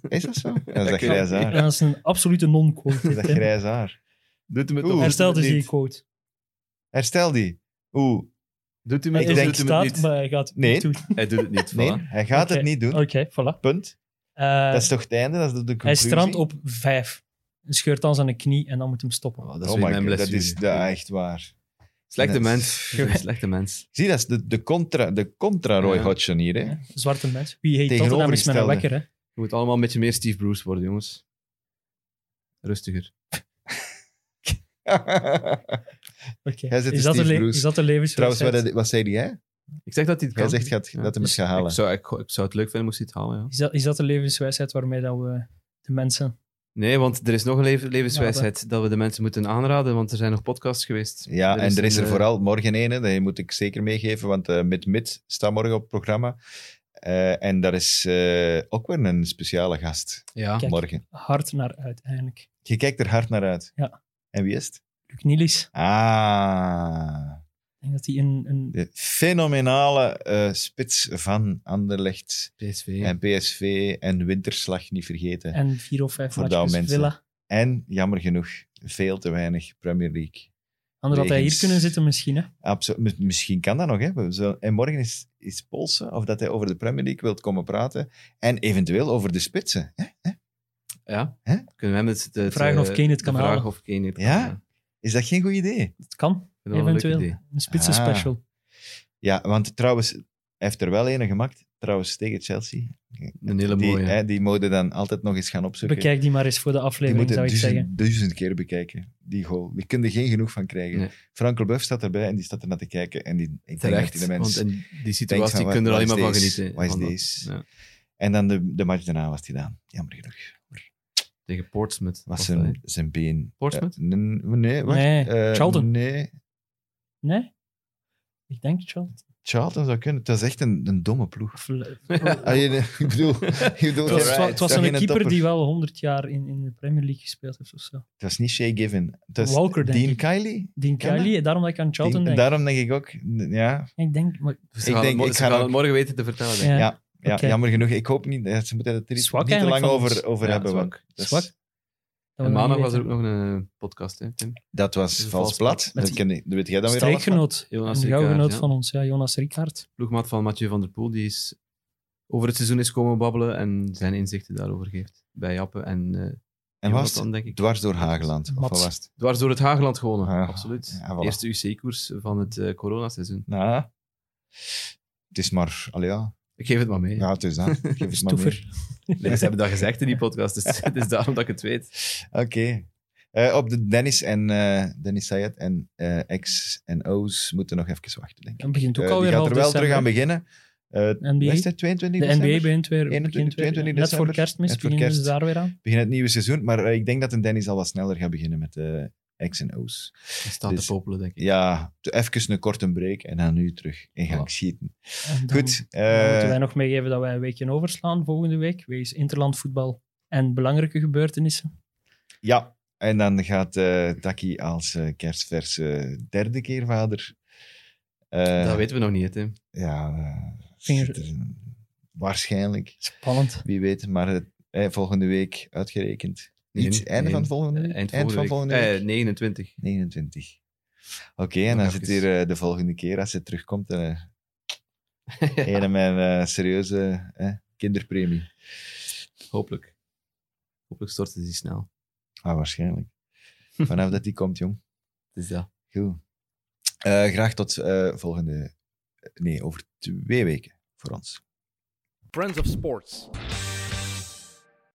C: Is dat zo? Ja, Dat is dat
E: kan.
C: grijs haar.
D: Dat is een absolute non-quote.
C: Dat is dat
D: dit, hè.
C: grijs haar.
E: Doet hem het
C: Oeh.
E: of
D: Herstelt
C: dit-
D: is die quote.
C: Herstel die. Oeh,
E: Doet hem
D: Hij
E: het
D: is
E: of
C: denk-
E: doet hem
D: denk staat,
E: het niet?
D: maar hij gaat het
C: Nee.
D: niet doen.
E: Hij doet het niet,
C: nee,
E: voilà. Oh.
C: hij gaat het
D: Oké.
C: niet doen.
D: Oké, voilà.
C: Punt.
D: Eh,
C: Dat is toch het einde? Dat is de conclusie?
D: hij strandt op vijf. Hij scheurt dan zijn knie en dan moet hem stoppen.
E: Oh, dat is
C: Oh
E: weer
C: my
E: mijn
C: god, dat
E: blessure.
C: is ja, echt waar.
E: Slechte
C: Dat is-
E: mens. Dat is een Slechte mens.
C: Zie, dat is de, de contra, de contra Roy
E: Ja.
C: Hodgson hier. Hè?
D: Ja, Zwarte mens. Wie heet Tottenham is met een
C: Tegenovergestelde.
D: wekker, hè?
E: Je moet allemaal een beetje meer Steve Bruce worden, jongens. Rustiger.
D: Oké.
C: Hij zit
D: Is,
C: de
D: dat de
C: Steve
D: le-
C: Bruce.
D: is dat de levens?
C: Trouwens, wat, wat zei jij?
E: Ik zeg dat hij het
C: Jij
E: kan.
C: zegt gaat, dat hem het gaat halen.
E: Dus Ik zou, ik, ik zou het leuk vinden moest hij het halen, ja.
D: Is dat, is dat de levenswijsheid waarmee dat we de mensen...
E: Nee, want er is nog een leven- levenswijsheid dat we de mensen moeten aanraden, want er zijn nog podcasts geweest.
C: Ja, en er is er
E: een, eh,
C: vooral morgen een, hè, dat moet ik zeker meegeven, want eh Mid Mid staat morgen op het programma. Eh, en daar is eh, ook weer een speciale gast
E: eh, Ja,
D: Kijk.
C: morgen.
D: Hard naar uiteindelijk.
C: Je kijkt er hard naar uit.
D: Ja.
C: En wie is het?
D: Luc Nielis.
C: Ah,
D: Ik denk dat hij een... een
C: de fenomenale eh, spits van Anderlecht
E: PSV.
C: en PSV en Winterslag niet vergeten.
D: en vier of vijf
C: Voor
D: matches
C: dat mensen.
D: Villa.
C: En jammer genoeg, veel te weinig Premier League.
D: Anders had hij hier
C: Wegens-
D: kunnen zitten misschien, hè?
C: Absolu- mi- Misschien kan dat nog. Hè? We zullen- En morgen is, is Polsen, of dat hij over de Premier League wilt komen praten. En eventueel over de spitsen. Hè?
E: Ja.
C: Hè?
E: Kunnen we hem het... het
D: Vragen
E: eh,
D: of Kane het
E: de
D: kan
E: vraag
D: halen.
E: of Kane het kan
C: Ja?
E: halen.
C: Is dat geen goed idee?
D: Het kan,
E: Ik vind dat wel een leuk
D: eventueel.
E: idee.
D: Een spitsen
C: Ah.
D: special.
C: Ja, want trouwens, hij heeft er wel ene gemaakt. trouwens tegen Chelsea.
E: Een hele
C: Die,
E: mooie.
C: hè, die moeten dan altijd nog eens gaan opzoeken.
D: Bekijk die maar eens voor de
C: die
D: aflevering,
C: moeten
D: zou ik zeggen.
C: duizend, duizend keer bekijken, die goal. Die kun je geen genoeg van krijgen.
E: Nee.
C: Frank Leboeuf staat erbij en die staat er naar te kijken. En die, ik denk dat die
E: Terecht.
C: de mens
E: Want in die
C: denkt
E: situatie kun
C: van,
E: je er
C: "Wat
E: alleen
C: is
E: maar van
C: deze?
E: genieten.
C: Wat is
E: Van dat.
C: deze?
E: Ja.
C: En dan de, de match daarna was hij dan. Jammer genoeg.
E: Tegen Portsmouth.
C: Was
E: dat, hè?
C: zijn, zijn been...
E: Portsmouth?
C: Eh, n- nee, wacht.
D: Nee,
C: Eh,
D: Charlton.
C: Nee,
D: Nee? Ik denk het wel.
C: Charlton zou kunnen. Het was echt een, een domme ploeg.
D: Of, eh,
C: Ah, je, ik bedoel... Ik bedoel
D: Het was,
C: alright,
D: het was
C: dat
D: een
C: geen
D: keeper
C: topper.
D: die wel 100 jaar in, in de Premier League gespeeld heeft of zo.
C: Het was niet Shea Given. Het was
D: Walker, denk
C: Dean
D: ik.
C: Kiley.
D: Dean
C: Ken
D: Kelly, daarom dat ik aan Charlton
C: Die-
D: denk.
C: Daarom denk ik ook... Ja,
D: Ik denk, maar
E: Ze
C: Ik
E: gaan,
C: denk,
E: het, mo-
C: ik
E: ze
C: ga
E: gaan
C: ook-
E: het morgen weten te vertellen. denk ik.
D: Ja.
C: ja. Ja,
D: Oké.
C: jammer genoeg. Ik hoop niet... ja, Ze moeten het er niet,
D: Zwak
C: niet te lang
D: eigenlijk van
C: over,
D: ons.
C: over
E: Ja,
C: hebben.
E: zwak.
C: want dat is-
D: zwak. Dat
E: En
D: we
E: maandag
D: niet
E: was er ook
D: weten.
E: nog een eh, podcast, hè, Tim?
C: Dat was
E: Een
C: Vals
E: vals
C: Blad.
D: blad.
C: Dat, ken ik- dat weet jij dan weer alles van.
D: Streekgenoot.
E: Jonas
D: Een
E: Rickaert,
D: gauwgenoot
E: ja.
D: van ons, ja, Jonas Rickaert.
E: Ploegmaat van Mathieu van der Poel, die is over het seizoen is komen babbelen en zijn inzichten daarover geeft bij Jappen en, eh
C: En was het
E: dan denk ik.
C: dwars door Hageland? Of
D: Mats.
C: wat was het?
E: Dwars door het Hageland gewonnen,
C: Ah, ja.
E: absoluut.
C: Ja, voilà.
E: Eerste UC-koers van het eh, coronaseizoen.
C: Nou, het is maar... Allee, ja.
E: Ik geef het maar mee.
C: ja, het is dat. Geef het maar
D: Stoever.
C: mee.
E: Nee, ze hebben dat gezegd in die podcast, dus het is daarom dat ik het weet.
C: Oké. Eh, op de Dennis en eh, Dennis Sayed en eh, X en O's moeten nog even wachten, denk ik.
D: En begint ook
C: Eh,
D: alweer
C: die gaat
D: half
C: er wel terug
D: december.
C: aan beginnen. Eh
D: NBA.
C: wat is het, 22
D: De
C: december?
D: NBA begint weer,
C: 21,
D: begint weer
C: 22
D: net voor
C: december.
D: kerstmis,
C: Net voor
D: beginnen ze
C: kerst.
D: daar weer aan.
C: Begin het nieuwe seizoen, maar eh, ik denk dat een Dennis al wat sneller gaat beginnen met eh, X en O's.
E: Hij staat
C: Dus-
E: te popelen, denk ik.
C: Ja, t- even een korte break en dan nu terug in gang
E: Voilà.
C: schieten.
D: En dan-
C: Goed,
D: dan moeten wij
C: eh
D: nog meegeven dat wij een weekje overslaan volgende week, wegens interlandvoetbal en belangrijke gebeurtenissen.
C: ja. En dan gaat eh Taki als eh, kerstverse derde keer vader. Eh,
E: dat weten we nog niet, hè, Tim.
C: Ja, eh,
D: Vinger-
C: zit er- waarschijnlijk.
D: Spannend.
C: Wie weet, maar het- eh, volgende week uitgerekend.
E: Nee,
C: Niet
E: nee.
C: einde van volgende week?
E: Eh, Eind,
C: Eind van volgende week?
E: Eh, 29.
C: 29. Oké, en
E: Nog
C: dan zit
E: even.
C: hier eh, de volgende keer, als ze terugkomt, eh een mijn eh, serieuze eh, kinderpremie.
E: Hopelijk. Hopelijk storten die snel.
C: Ah, waarschijnlijk. Vanaf dat die komt, jong.
E: Dus ja.
C: Goed. Eh, graag tot eh, volgende... Nee, over twee weken voor ons.
F: Friends of Sports.